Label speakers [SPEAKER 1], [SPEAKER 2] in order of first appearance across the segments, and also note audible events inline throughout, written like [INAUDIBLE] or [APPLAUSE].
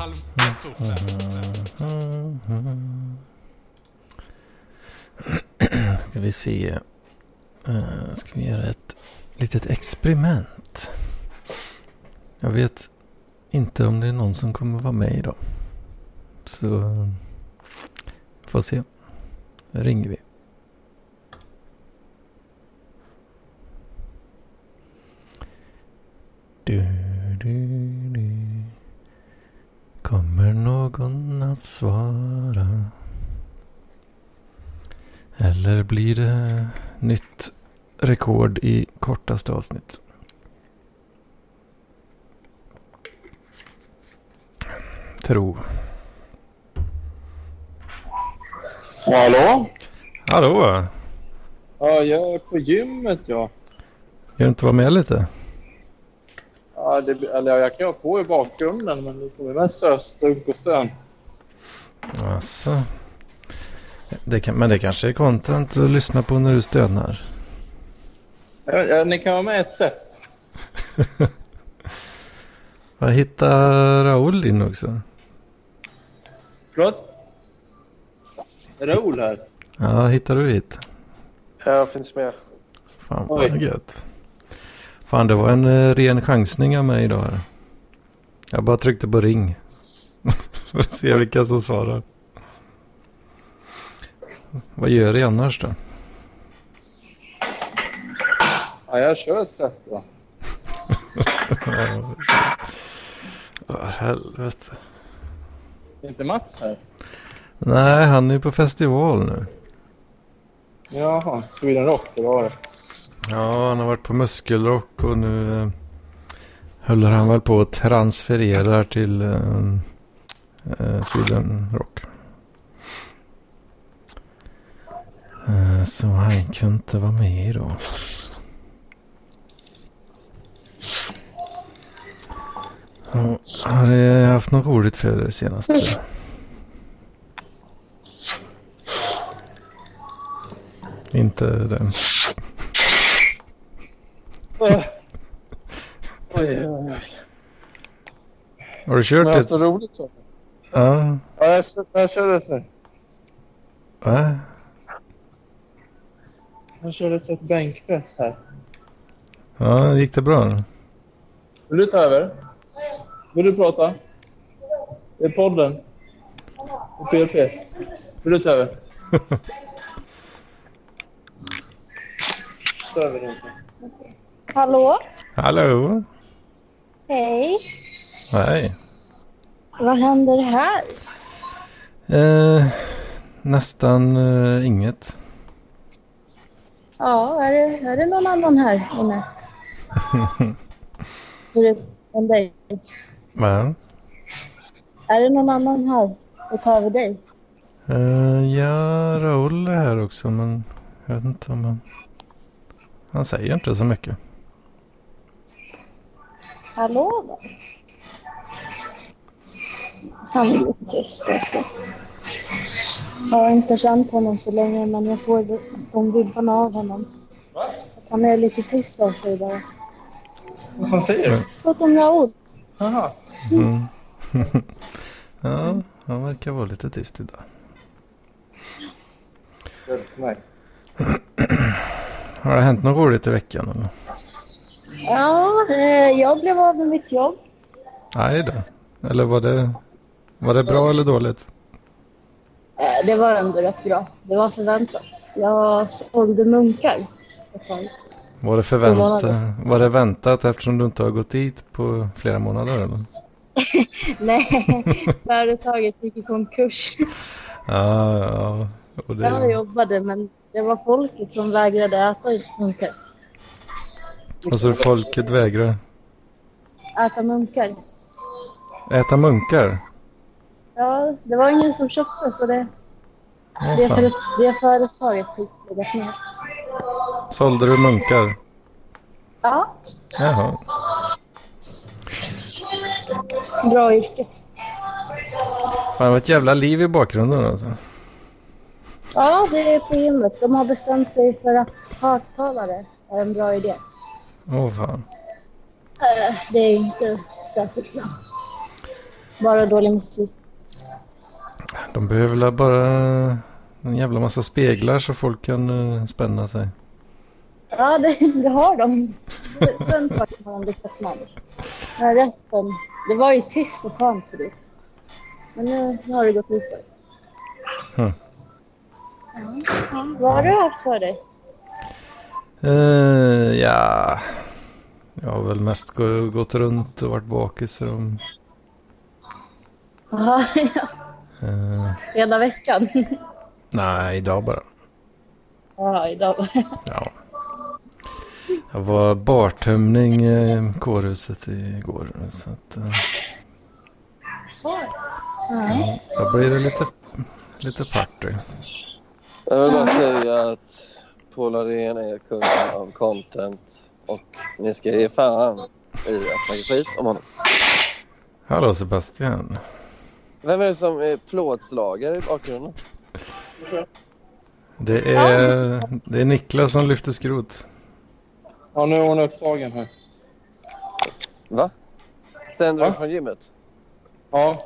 [SPEAKER 1] halv ett år sedan.
[SPEAKER 2] Mm-hmm. Ska vi se. Eh, Ska vi göra ett litet experiment. Jag vet inte om det är någon som kommer vara med idag. Så eh, får se. Nu ringer vi. Du, du, du. Kommer någon att svara? Eller blir det nytt rekord i kortaste avsnitt? Tro.
[SPEAKER 3] Hallå?
[SPEAKER 2] Hallå!
[SPEAKER 3] Ja, jag är på gymmet ja.
[SPEAKER 2] Kan du inte vara med lite?
[SPEAKER 3] ja det, eller ja, jag kan ha på i bakgrunden men det kommer mest sösdunk och stön.
[SPEAKER 2] Alltså. Det kan, men det kanske är content att lyssna på när du stönar.
[SPEAKER 3] Ja, ja, ni kan vara med ett sätt.
[SPEAKER 2] Jag hittar Raoul in också.
[SPEAKER 3] Förlåt? Raoul här.
[SPEAKER 2] Ja, hittar du hit?
[SPEAKER 4] Jag finns med.
[SPEAKER 2] Fan
[SPEAKER 3] Oj.
[SPEAKER 2] vad gött. Fan det var en eh, ren chansning av mig idag. här. Jag bara tryckte på ring. [LAUGHS] För att se vilka som svarar. Vad gör du annars då?
[SPEAKER 3] Ja, jag kör ett sätt va.
[SPEAKER 2] Åh, helvete.
[SPEAKER 3] Det är inte Mats här?
[SPEAKER 2] Nej, han är ju på festival nu.
[SPEAKER 3] Jaha, Sweden Rock, det var [LAUGHS] det.
[SPEAKER 2] Ja, han har varit på Muskelrock och nu eh, håller han väl på att transfererar till eh, eh, Sweden Rock. Eh, så han kunde inte vara med idag. Ja, har ni haft något roligt för er det senaste? Inte det.
[SPEAKER 3] Äh. Oj, oj, oj.
[SPEAKER 2] Har du
[SPEAKER 3] Har
[SPEAKER 2] kört
[SPEAKER 3] du haft
[SPEAKER 2] ett?
[SPEAKER 3] något roligt? så?
[SPEAKER 2] Ja.
[SPEAKER 3] Ja, jag kör, jag kör ett nu.
[SPEAKER 2] Va?
[SPEAKER 3] Jag kör ett sätt bänkpress här.
[SPEAKER 2] Ja, gick det bra?
[SPEAKER 3] Vill du ta över? Vill du prata? Det är podden. Och PLP. Vill du ta
[SPEAKER 4] [LAUGHS]
[SPEAKER 3] över? Ta över den.
[SPEAKER 5] Hallå?
[SPEAKER 2] Hallå?
[SPEAKER 5] Hej.
[SPEAKER 2] Hej.
[SPEAKER 5] Vad händer här?
[SPEAKER 2] Eh, nästan eh, inget.
[SPEAKER 5] Ja, är det, är det någon annan här [LAUGHS] inne? Förutom dig.
[SPEAKER 2] Men,
[SPEAKER 5] Är det någon annan här och tar över dig?
[SPEAKER 2] eh, ja, Raoul är här också, men jag vet inte om han... Han säger inte så mycket.
[SPEAKER 5] Hallå där. Han är lite tyst alltså. Jag har inte känt honom så länge men jag får de vibbarna av honom. Att han är lite tyst av sig bara.
[SPEAKER 3] Vad fan säger du?
[SPEAKER 5] Prata om Raoul.
[SPEAKER 3] Jaha.
[SPEAKER 2] Mm. ja, han verkar vara lite tyst idag.
[SPEAKER 3] Nej.
[SPEAKER 2] Har det hänt något roligt i veckan? Eller?
[SPEAKER 5] Ja, eh, jag blev av med mitt jobb.
[SPEAKER 2] Nej då. Eller var det, var det bra eller dåligt?
[SPEAKER 5] Eh, Det var ändå rätt bra. Det var förväntat. Jag sålde munkar ett tag.
[SPEAKER 2] Var det,
[SPEAKER 5] månader.
[SPEAKER 2] förvänta, var det väntat eftersom du inte har gått dit på flera månader? Eller? [LAUGHS]
[SPEAKER 5] Nej, företaget gick i konkurs.
[SPEAKER 2] Ja, ja. Och det,
[SPEAKER 5] Jag jobbade, men det var folket som vägrade äta munkar.
[SPEAKER 2] Och så folket vägrar
[SPEAKER 5] Äta munkar.
[SPEAKER 2] äta munkar.
[SPEAKER 5] Ja, det var ingen som köpte, så det,
[SPEAKER 2] Åh,
[SPEAKER 5] det,
[SPEAKER 2] fan.
[SPEAKER 5] före, det företaget fick läggas ner.
[SPEAKER 2] Sålde du munkar?
[SPEAKER 5] Ja,
[SPEAKER 2] Jaha.
[SPEAKER 5] bra yrke.
[SPEAKER 2] Fan vad ett jävla liv i bakgrunden alltså.
[SPEAKER 5] Ja, det är på gymmet. De har bestämt sig för att högtalare är en bra idé.
[SPEAKER 2] Åh fan.
[SPEAKER 5] Eh, Det är inte särskilt bra. Bara dålig musik.
[SPEAKER 2] De behöver väl bara en jävla massa speglar så folk kan eh, spänna sig.
[SPEAKER 5] Ja, det, det har de. Det- Den saken har de lyckats med. Men resten, det var ju tyst och skönt förut. Men nu, nu har det gått ut för.
[SPEAKER 2] Hm.
[SPEAKER 5] Ja. Vad har du haft för dig?
[SPEAKER 2] Eh, ja, jag har väl mest gå- gått runt och varit bakis. Så de,
[SPEAKER 5] [LAUGHS] Jaha, ja.
[SPEAKER 2] eh,
[SPEAKER 5] Hela veckan?
[SPEAKER 2] nej, idag bara.
[SPEAKER 5] Ja, idag.
[SPEAKER 2] Ja. Jag var bartömning eh, i kårhuset igår. Så att, eh,
[SPEAKER 5] Ja.
[SPEAKER 2] då blir det lite, lite party.
[SPEAKER 4] Jag vill bara säga att Paul Arena är kungen av content och ni ska ge fan i att snacka skit om honom.
[SPEAKER 2] Hallå Sebastian.
[SPEAKER 4] Vem är det som är plåtslagare i bakgrunden?
[SPEAKER 2] Det är, det är Niklas som lyfter skrot.
[SPEAKER 3] Ja, nu är hon upptagen här.
[SPEAKER 4] Va? Sänder du
[SPEAKER 3] Va?
[SPEAKER 4] från gymmet?
[SPEAKER 3] Ja,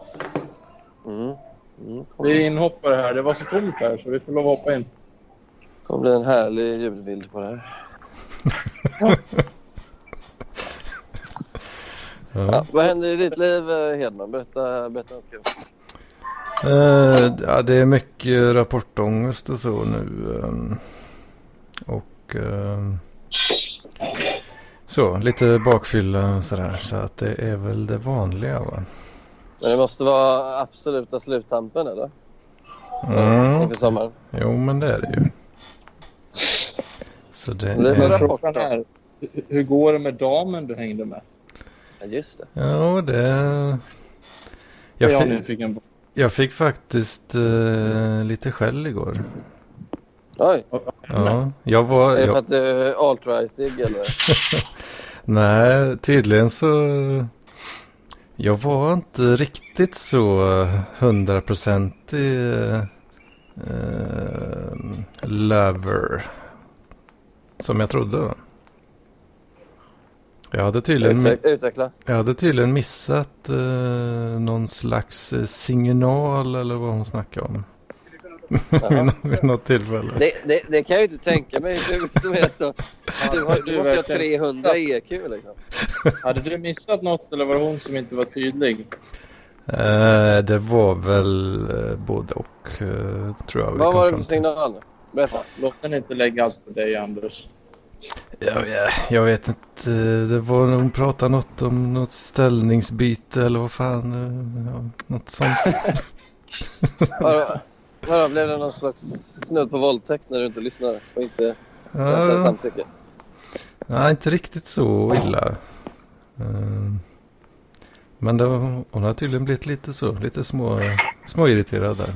[SPEAKER 4] Mm. Mm.
[SPEAKER 3] vi
[SPEAKER 4] kommer-
[SPEAKER 3] är inhoppare här. Det var så tomt här så vi får lov att hoppa in.
[SPEAKER 4] kommer bli en härlig ljudbild på det här.
[SPEAKER 3] [LAUGHS]
[SPEAKER 2] Ja.
[SPEAKER 4] Ja, vad händer i ditt liv eh, Hedman? Berätta, berätta något kul.
[SPEAKER 2] Eh, ja, det är mycket rapportångest och så nu. ehm, och ehm, så, lite bakfylla och sådär. Så att det är väl det vanliga va?
[SPEAKER 4] Men det måste vara absoluta sluttampen eller?
[SPEAKER 2] Mm.
[SPEAKER 4] Inför sommaren.
[SPEAKER 2] Jo, men det är det ju. Så det
[SPEAKER 4] Mm. Det är
[SPEAKER 2] är...
[SPEAKER 4] bra.
[SPEAKER 3] Klockan är. Hur- Hur går det med damen du hängde med?
[SPEAKER 4] Ja, just det.
[SPEAKER 2] Ja, det...
[SPEAKER 3] Jag,
[SPEAKER 2] Jag,
[SPEAKER 3] jag
[SPEAKER 2] fi-
[SPEAKER 3] nyfiken på.
[SPEAKER 2] jag fick faktiskt eh, lite skäll igår.
[SPEAKER 4] Oj,
[SPEAKER 2] Ja, jag var...
[SPEAKER 4] är det för
[SPEAKER 2] Jag,
[SPEAKER 4] att du är alt-rightig eller?
[SPEAKER 2] nej, tydligen så... Jag var inte riktigt så hundraprocentig eh, eh, lover som jag trodde. va. Jag hade tydligen,
[SPEAKER 4] Utveck- Utveckla.
[SPEAKER 2] jag hade tydligen missat eh, någon slags eh, signal eller vad hon snackade om. [LAUGHS] vid, nå- vid något tillfälle.
[SPEAKER 4] Det, det, det kan jag ju inte tänka mig. Du, som är
[SPEAKER 2] [LAUGHS]
[SPEAKER 4] så, du, har, du måste ju ha 300 EQ liksom.
[SPEAKER 3] Hade du missat något eller var det hon som inte var tydlig?
[SPEAKER 2] Eh, det var väl eh, både och eh, tror jag. vi
[SPEAKER 4] Vad
[SPEAKER 2] kom
[SPEAKER 4] var
[SPEAKER 2] fram
[SPEAKER 4] det för
[SPEAKER 2] till.
[SPEAKER 4] signal? nu? Berätta.
[SPEAKER 3] Låt den inte lägga allt på dig, Anders.
[SPEAKER 2] Jag, vet- jag vet inte. Det var hon pratade något om något ställningsbyte eller vad fan. eh, Ja, något sånt.
[SPEAKER 4] Vadå, vadå, blev det någon slags snudd på våldtäkt när du inte lyssnade och inte väntade
[SPEAKER 2] ja,
[SPEAKER 4] samtycke?
[SPEAKER 2] nej, inte riktigt så illa. Eh, men det var, hon har tydligen blivit lite så. Lite små, småirriterad där.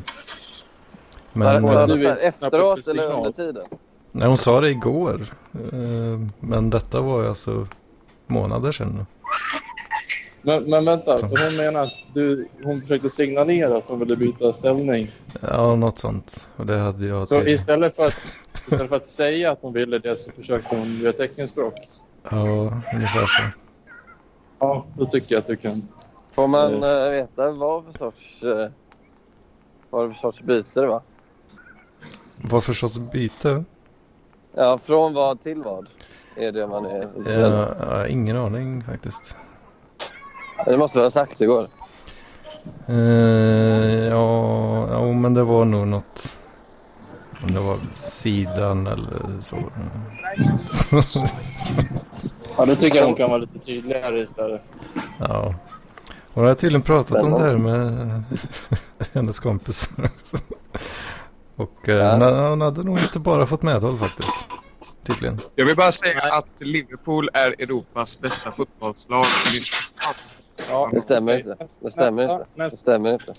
[SPEAKER 4] Men,
[SPEAKER 2] Men,
[SPEAKER 4] var
[SPEAKER 2] eh,
[SPEAKER 4] det
[SPEAKER 3] du
[SPEAKER 4] så här
[SPEAKER 3] vill lyssna på
[SPEAKER 4] efteråt
[SPEAKER 3] signal.
[SPEAKER 4] eller under tiden?
[SPEAKER 2] nej, hon sa det igår. Eh, men detta var ju alltså månader sedan.
[SPEAKER 3] Men, men vänta, så hon menar att du, hon försökte signalera att hon ville byta ställning?
[SPEAKER 2] Ja, något sånt. Och det hade jag
[SPEAKER 3] Så
[SPEAKER 2] till.
[SPEAKER 3] istället för, att, istället för att säga att hon ville det så försökte hon göra teckenspråk?
[SPEAKER 2] Ja, ungefär så.
[SPEAKER 3] Ja, då tycker jag att du kan.
[SPEAKER 4] Får man eh, veta vad för sorts, eh, vad för sorts byte det var?
[SPEAKER 2] Vad för sorts byte?
[SPEAKER 4] Ja, från vad till vad? Är det man är intresserad av.
[SPEAKER 2] Ja, ja, ingen aning faktiskt.
[SPEAKER 4] Det måste väl ha sagts igår?
[SPEAKER 2] Eh, ja, ja, men det var nog något. Om det var sidan eller så.
[SPEAKER 3] Ja, då tycker jag hon kan vara lite tydligare istället.
[SPEAKER 2] ja. Hon har tydligen pratat om det här med [LAUGHS] hennes kompisar också. Och eh,
[SPEAKER 4] Ja.
[SPEAKER 2] hon hade- hon hade nog inte bara fått medhåll faktiskt. Tydligen.
[SPEAKER 6] Jag vill bara säga att Liverpool är Europas bästa fotbollslag.
[SPEAKER 3] Ja,
[SPEAKER 4] Det stämmer
[SPEAKER 3] okej.
[SPEAKER 4] inte. Det stämmer
[SPEAKER 3] Nästa,
[SPEAKER 4] inte. Det
[SPEAKER 3] Nästa,
[SPEAKER 4] stämmer inte.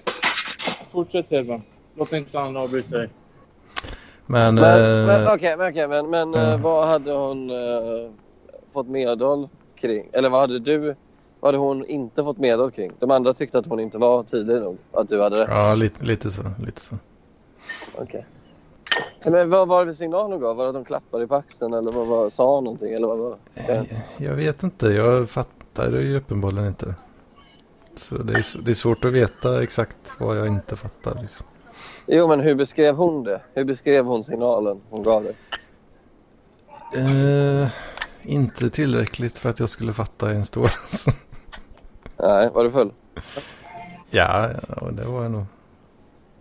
[SPEAKER 3] fortsätt Hedman. Låt inte andra avbryta dig.
[SPEAKER 2] Men,
[SPEAKER 4] Men, men
[SPEAKER 2] eh,
[SPEAKER 4] okej, men, okej, men, men eh,
[SPEAKER 2] Mm.
[SPEAKER 4] vad hade hon eh, fått medhåll kring? Eller vad hade du, vad hade hon inte fått medhåll kring? De andra tyckte att hon inte var tydlig nog, att du hade rätt.
[SPEAKER 2] ja, lite, lite så. Lite så.
[SPEAKER 4] Okej. Men vad var det för signal hon gav? Var det att hon klappade i på axeln eller vad var, sa hon någonting? Eller vad var det?
[SPEAKER 2] Jag vet inte, jag fattar det ju uppenbarligen inte. Så det är, s- det är svårt att veta exakt vad jag inte fattar. Liksom.
[SPEAKER 4] Jo, men hur beskrev hon det? Hur beskrev hon signalen hon gav dig?
[SPEAKER 2] Eh, inte tillräckligt för att jag skulle fatta en stor. [LAUGHS]
[SPEAKER 4] Nej, var du full?
[SPEAKER 2] ja, ja, det var jag nog.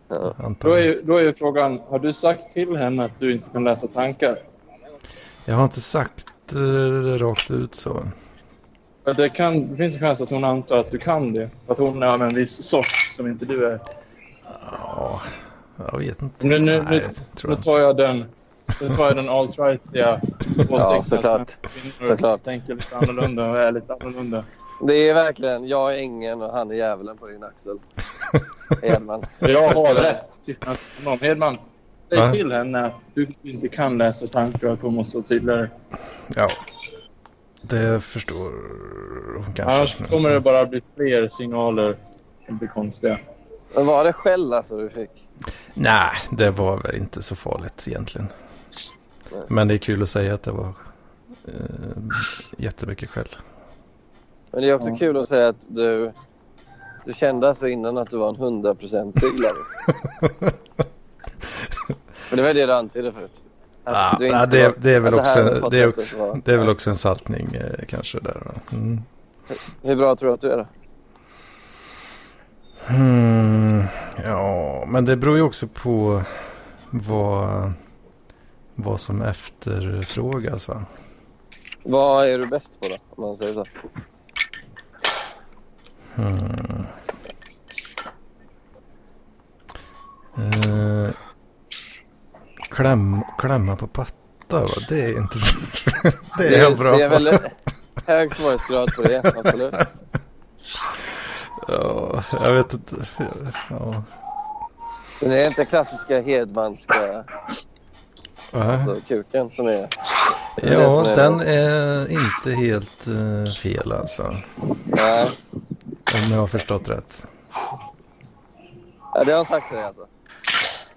[SPEAKER 4] Ja.
[SPEAKER 3] Då är,
[SPEAKER 2] Antagligen.
[SPEAKER 3] ju, då är ju frågan, har du sagt till henne att du inte kan läsa tankar?
[SPEAKER 2] Jag har inte sagt eh, det rakt ut så.
[SPEAKER 3] För Det, kan, det finns en chans att hon antar att du kan det. För Att hon är av en viss sort som inte du är.
[SPEAKER 2] Ja, jag vet inte.
[SPEAKER 3] Nu, nu,
[SPEAKER 2] Nej,
[SPEAKER 3] nu,
[SPEAKER 2] jag tror
[SPEAKER 3] nu
[SPEAKER 2] inte.
[SPEAKER 3] tar jag den, nu tar jag den alt-rightiga
[SPEAKER 4] Ja, såklart.
[SPEAKER 3] Kvinnor
[SPEAKER 4] Såklart.
[SPEAKER 3] tänker lite annorlunda och är lite annorlunda.
[SPEAKER 4] Det är verkligen jag är ängeln och han är djävulen på din axel. Edman.
[SPEAKER 3] Jag har rätt till att någon Hedman, säg
[SPEAKER 2] Va?
[SPEAKER 3] till henne att du inte kan läsa tankar och att hon måste vara tydligare.
[SPEAKER 2] Ja. Det förstår hon kanske.
[SPEAKER 3] Annars
[SPEAKER 2] nu.
[SPEAKER 3] kommer det bara bli fler signaler som blir konstiga. Eh,
[SPEAKER 4] Men var det skäll alltså du fick?
[SPEAKER 2] Nej, det var väl inte så farligt egentligen.
[SPEAKER 4] Nej.
[SPEAKER 2] Men det är kul att säga att det var eh, jättemycket skäll.
[SPEAKER 4] Men det är också
[SPEAKER 3] Ja.
[SPEAKER 4] kul att säga att du, du kände alltså innan att du var en hundraprocentig
[SPEAKER 2] [LAUGHS]
[SPEAKER 4] Larry. För det var det du antydde förut. Att
[SPEAKER 2] Ah,
[SPEAKER 4] du
[SPEAKER 2] ah,
[SPEAKER 4] inte
[SPEAKER 2] det,
[SPEAKER 4] var-
[SPEAKER 2] det, är väl
[SPEAKER 4] att det här
[SPEAKER 2] också,
[SPEAKER 4] fattat
[SPEAKER 2] det, är
[SPEAKER 4] att du
[SPEAKER 2] också,
[SPEAKER 4] var-
[SPEAKER 2] det är väl också en saltning eh, kanske där. va? Mm.
[SPEAKER 4] Hur bra tror du att du är då?
[SPEAKER 2] Hmm, ja, men det beror ju också på vad, vad som efterfrågas va?
[SPEAKER 4] Vad är du bäst på då? Om man säger så.
[SPEAKER 2] Hmm. Eh, kläm, klämma på patta va? Det är inte... [LAUGHS] det är jag bra
[SPEAKER 4] det är
[SPEAKER 2] på.
[SPEAKER 4] väldigt hög svårighetsgrad
[SPEAKER 2] [LAUGHS]
[SPEAKER 4] på det, absolut.
[SPEAKER 2] Ja, jag vet inte. Ja.
[SPEAKER 4] Men det är inte klassiska Hedmanska
[SPEAKER 2] Va?
[SPEAKER 4] alltså, kuken som är... är det
[SPEAKER 2] Ja,
[SPEAKER 4] som är-
[SPEAKER 2] den är inte helt eh, fel alltså.
[SPEAKER 4] Nej,
[SPEAKER 2] Om jag har förstått rätt.
[SPEAKER 4] ja, det har han sagt till dig alltså.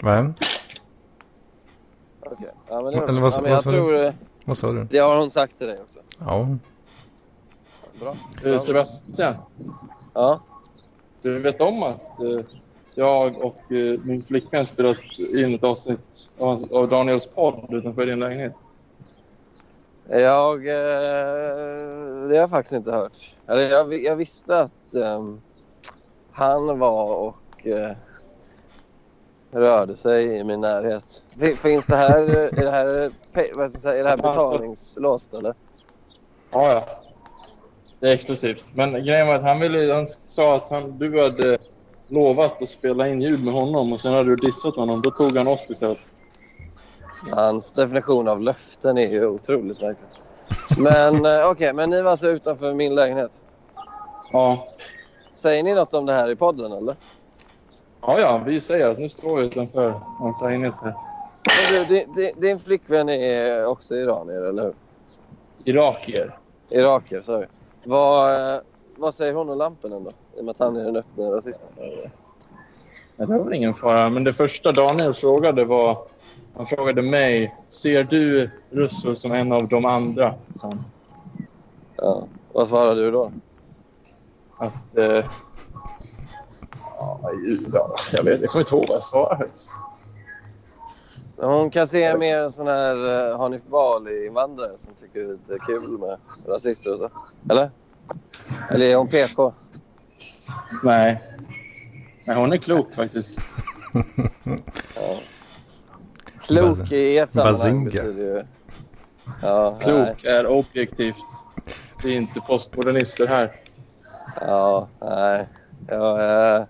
[SPEAKER 2] Va?
[SPEAKER 4] Okej. Ja, men det var...
[SPEAKER 2] Eller vad-
[SPEAKER 4] ja, men
[SPEAKER 2] vad
[SPEAKER 4] jag
[SPEAKER 2] sa du?
[SPEAKER 4] tror eh,
[SPEAKER 2] Vad sa du?
[SPEAKER 4] det har hon sagt till dig också.
[SPEAKER 2] Ja.
[SPEAKER 4] Bra.
[SPEAKER 3] Eh, Sebastian,
[SPEAKER 4] Ja.
[SPEAKER 3] du vet om att eh, jag och eh, min flickvän spelat in ett avsnitt av, av Daniels podd utanför din lägenhet?
[SPEAKER 4] Jag... Eh, det har jag faktiskt inte hört. Eller jag, vi- jag visste att ehm, han var och eh, rörde sig i min närhet. Fin- Finns det här... eh, Är det här, pe- vad ska man säga, är det här betalningslåst eller?
[SPEAKER 3] Ja, ja. Det är exklusivt. Men grejen var att han, ville, han sa att han, du hade lovat att spela in ljud med honom och sen hade du dissat honom. Då tog han oss istället.
[SPEAKER 4] Hans definition av löften är ju otroligt märklig. Men eh, okej, men ni var alltså utanför min lägenhet.
[SPEAKER 3] Ja.
[SPEAKER 4] Säger ni något om det här i podden eller?
[SPEAKER 3] Ja, ja, vi säger att nu står vi utanför hans lägenhet här.
[SPEAKER 4] Men du, din, din, din flickvän är också iranier eller hur?
[SPEAKER 3] Irakier.
[SPEAKER 4] Iraker, sorry. Vad, eh, vad säger hon om Lampinen då? I och med att han är den öppna rasisten.
[SPEAKER 3] Nej, det var väl ingen fara. Men det första Daniel frågade var... Han frågade mig, ser du Russo som en av de andra? sa han.
[SPEAKER 4] Ja. Vad svarar du då?
[SPEAKER 3] Att... Eh, ja, ja, jag vet Jag kommer inte ihåg vad jag svarade. faktiskt.
[SPEAKER 4] Hon kan se mer en sån här eh, Hanif Bali-invandrare som tycker det är lite kul med rasister och så. Eller? Eller är hon PK?
[SPEAKER 3] Nej. Nej, hon är klok faktiskt.
[SPEAKER 4] Klok i ert sammanhang
[SPEAKER 2] Bazinga.
[SPEAKER 4] betyder ju... Ja, Nej,
[SPEAKER 3] Klok är objektivt. Det är inte postmodernister här.
[SPEAKER 4] ja, nej. Ja, eh,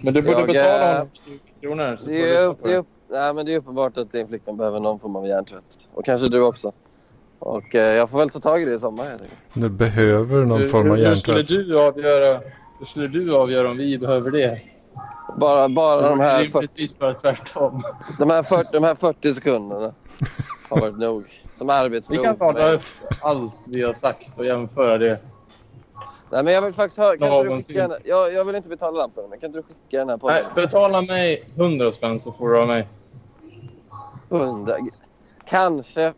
[SPEAKER 3] Men du borde
[SPEAKER 4] Jag,
[SPEAKER 3] betala
[SPEAKER 4] eh,
[SPEAKER 3] honom 20 kronor. Så får
[SPEAKER 4] det,
[SPEAKER 3] du lyssna
[SPEAKER 4] är,
[SPEAKER 3] på
[SPEAKER 4] det, är,
[SPEAKER 3] det.
[SPEAKER 4] upp- nej, men det är uppenbart att din flickvän behöver någon form av hjärntvätt. Och kanske du också. Och eh, jag får väl ta tag i det i sommar helt enkelt.
[SPEAKER 2] Nu behöver någon
[SPEAKER 3] Hur-
[SPEAKER 2] form av
[SPEAKER 3] hur- hur skulle
[SPEAKER 2] hjärntvätt.
[SPEAKER 3] du avgöra? Hur skulle du avgöra om vi behöver det?
[SPEAKER 4] Bara, bara de här 40
[SPEAKER 3] Rimligtvis bara tvärtom.
[SPEAKER 4] De här, 40, de här 40 sekunderna har varit nog. Som
[SPEAKER 3] Vi
[SPEAKER 4] arbetsprov.
[SPEAKER 3] kan ta
[SPEAKER 4] Men-
[SPEAKER 3] upp allt vi har sagt och jämföra det.
[SPEAKER 4] Nej, men jag vill faktiskt höra. Kan inte du
[SPEAKER 3] Någonting.
[SPEAKER 4] skicka den? Jag, jag vill inte betala lamporna, men kan inte du skicka den här
[SPEAKER 3] Nej,
[SPEAKER 4] podden?
[SPEAKER 3] betala mig 100 spänn så får du av mig.
[SPEAKER 4] 100. Kanske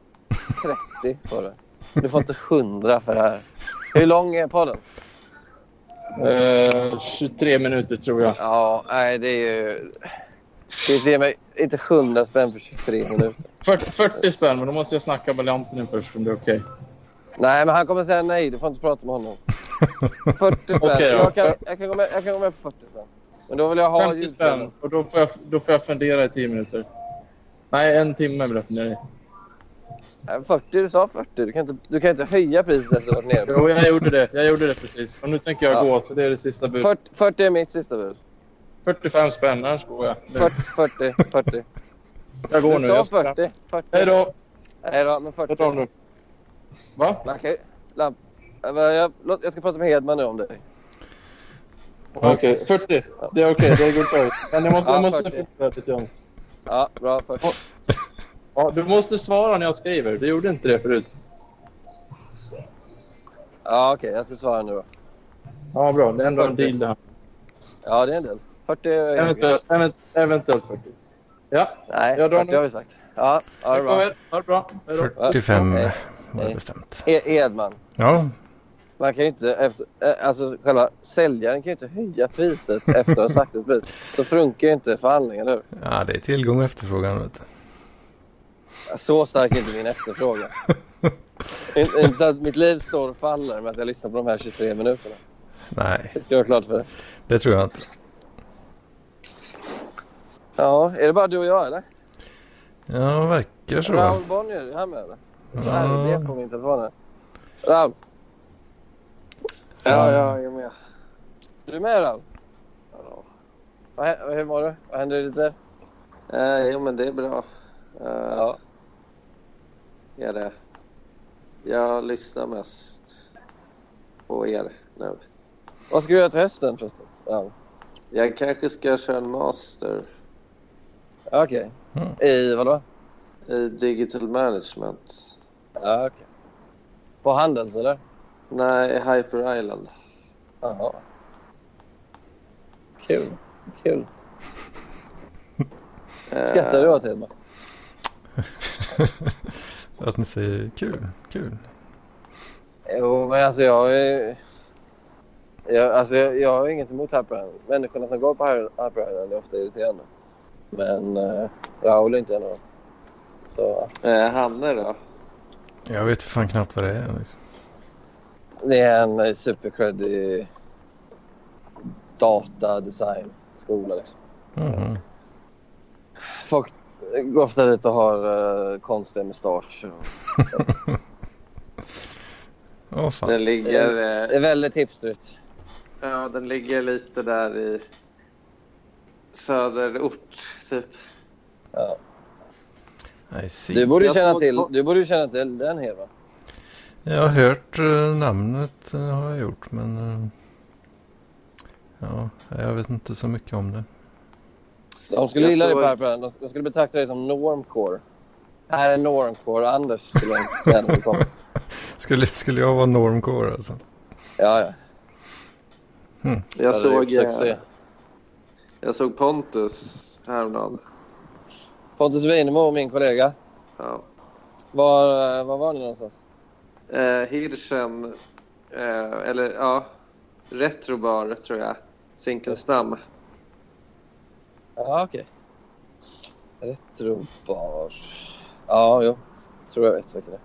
[SPEAKER 4] 30 får du. Du får inte 100 för det här. Hur lång är podden?
[SPEAKER 3] Eh, 23 minuter tror jag.
[SPEAKER 4] Ja, nej det är ju... Det är det med, inte 100 spänn för 23 minuter.
[SPEAKER 3] 40, 40 spänn, men då måste jag snacka med Lampinen först om det är okej.
[SPEAKER 4] Nej, men han kommer säga nej. Du får inte prata med honom. 40 spänn.
[SPEAKER 3] Okej, ja.
[SPEAKER 4] jag, kan, jag, kan gå med, jag kan gå med på 40 spänn. Men då vill jag ha
[SPEAKER 3] 50 spänn och då får, jag, då får jag fundera i 10 minuter. Nej, en timme beräknar jag.
[SPEAKER 4] Nej, 40, du sa 40. Du kan inte, du kan inte höja priset efter att du varit nere.
[SPEAKER 3] Jo, jag gjorde det. Jag gjorde det precis. Och nu tänker jag
[SPEAKER 4] Ja.
[SPEAKER 3] gå, så det är det sista budet.
[SPEAKER 4] 40, 40 är mitt sista bud.
[SPEAKER 3] 45 spänn, annars går jag. Nu.
[SPEAKER 4] 40, 40, 40.
[SPEAKER 3] Jag går nu.
[SPEAKER 4] Du sa
[SPEAKER 3] Jag ska-
[SPEAKER 4] 40. 40.
[SPEAKER 3] Hej då!
[SPEAKER 4] Nej då, men
[SPEAKER 3] Jag tar
[SPEAKER 4] 40.
[SPEAKER 3] nu. Va?
[SPEAKER 4] Man kan ju- Lamp. Äh, vad- Jag, låt- jag ska prata med Hedman nu om dig.
[SPEAKER 3] Okej, 40. Det är okej. Det är good choice. Men jag måste, jag
[SPEAKER 4] Ja,
[SPEAKER 3] måste
[SPEAKER 4] 40.
[SPEAKER 3] fundera lite grann.
[SPEAKER 4] Ja, bra. 40.
[SPEAKER 3] Ja, du måste svara när jag skriver. Du gjorde inte det förut.
[SPEAKER 4] Ja, okej. jag ska svara nu då.
[SPEAKER 3] Ja, bra. Det är ändå en
[SPEAKER 4] 40.
[SPEAKER 3] deal det här.
[SPEAKER 4] Ja, det är en del. 40 är
[SPEAKER 3] Eventuellt, event, eventuellt 40. Ja,
[SPEAKER 4] Nej,
[SPEAKER 3] Jag drar
[SPEAKER 4] 40
[SPEAKER 3] nu.
[SPEAKER 4] har vi sagt. Ja, ja det
[SPEAKER 3] tack
[SPEAKER 4] är
[SPEAKER 3] och
[SPEAKER 4] bra.
[SPEAKER 3] väl. Ha det bra. Hej då.
[SPEAKER 2] 45
[SPEAKER 4] Okej.
[SPEAKER 2] var det
[SPEAKER 4] Nej.
[SPEAKER 2] bestämt.
[SPEAKER 4] E- Edman,
[SPEAKER 2] Ja,
[SPEAKER 4] man kan ju inte... Efter, eh, alltså själva säljaren kan ju inte höja priset efter att ha sagt ett pris. Så funkar ju inte förhandlingen, eller hur?
[SPEAKER 2] ja det är tillgång och efterfrågan. Vet du.
[SPEAKER 4] Så stark är inte
[SPEAKER 3] [LAUGHS]
[SPEAKER 4] min efterfrågan. Inte inte så att mitt liv står och faller med att jag lyssnar på de här 23 minuterna.
[SPEAKER 2] Nej,
[SPEAKER 4] Det ska jag vara klart för det.
[SPEAKER 2] det tror jag inte.
[SPEAKER 4] Ja, är det bara du och jag eller?
[SPEAKER 2] Ja, det verkar så.
[SPEAKER 4] Raoul Bonnier, är du här med eller? Ja. Det på min telefon här. Raoul. Ja, ja, jag är med. Är du med Raoul? Ja. Vad hä- Hur mår du? Vad händer lite? Eh, jo, men det är bra. ja. Är det. Jag lyssnar mest på er nu. Vad ska du göra till hösten förresten? Raoul?
[SPEAKER 7] Jag kanske ska köra en master
[SPEAKER 4] Okej. I vadå?
[SPEAKER 7] i digital management.
[SPEAKER 4] Ja, okej. På Handels eller?
[SPEAKER 7] Nej, Hyper Island.
[SPEAKER 4] Jaha. Kul. Kul.
[SPEAKER 7] Eh,
[SPEAKER 4] Skrattar du åt Hedman?
[SPEAKER 2] Att ni säger kul, kul.
[SPEAKER 4] Jo, men alltså jag är... Jag, alltså jag, jag har inget emot Hyper Island. Människorna som går på Hyper Hyper Island är ofta irriterande. Men eh, Raoul är inte en av dem. Så
[SPEAKER 7] eh, Hanne då?
[SPEAKER 2] Jag vet för fan knappt vad det är. Liksom.
[SPEAKER 4] det är en eh, supercreddig datadesignskola. Liksom.
[SPEAKER 2] Mhm.
[SPEAKER 4] Folk går ofta dit och har eh, konstiga mustascher. och-
[SPEAKER 2] Åh fan.
[SPEAKER 7] Den ligger,
[SPEAKER 4] Det
[SPEAKER 7] eh,
[SPEAKER 4] är väldigt hipsterigt.
[SPEAKER 7] ja, den ligger lite där i söderort, typ.
[SPEAKER 2] I see.
[SPEAKER 4] Du borde ju
[SPEAKER 7] Jag
[SPEAKER 4] känna
[SPEAKER 7] får-
[SPEAKER 4] till, du borde ju känna till den Hedman.
[SPEAKER 2] Jag har hört eh, namnet eh, har jag gjort men eh, ja, jag vet inte så mycket om det.
[SPEAKER 4] De skulle
[SPEAKER 7] Jag
[SPEAKER 4] gilla dig
[SPEAKER 7] såg-
[SPEAKER 4] Per Brand. De, de skulle betrakta dig som normcore. Här är normcore. Anders skulle de säga när du kommer.
[SPEAKER 2] Skulle, skulle jag vara normcore alltså?
[SPEAKER 4] Ja, ja.
[SPEAKER 7] Jag,
[SPEAKER 4] Det hade
[SPEAKER 7] såg,
[SPEAKER 4] gjort succé.
[SPEAKER 7] eh, jag såg Pontus häromdagen.
[SPEAKER 4] Pontus Winemo, min kollega.
[SPEAKER 7] Ja.
[SPEAKER 4] Var, eh, var var ni någonstans?
[SPEAKER 7] Eh, Hirschen, eh, eller ja, Retrobar tror jag. Eh, Zinkensdamm.
[SPEAKER 4] Ja, okej. Retrobar. Ja, jo. Tror jag vet vilken det är.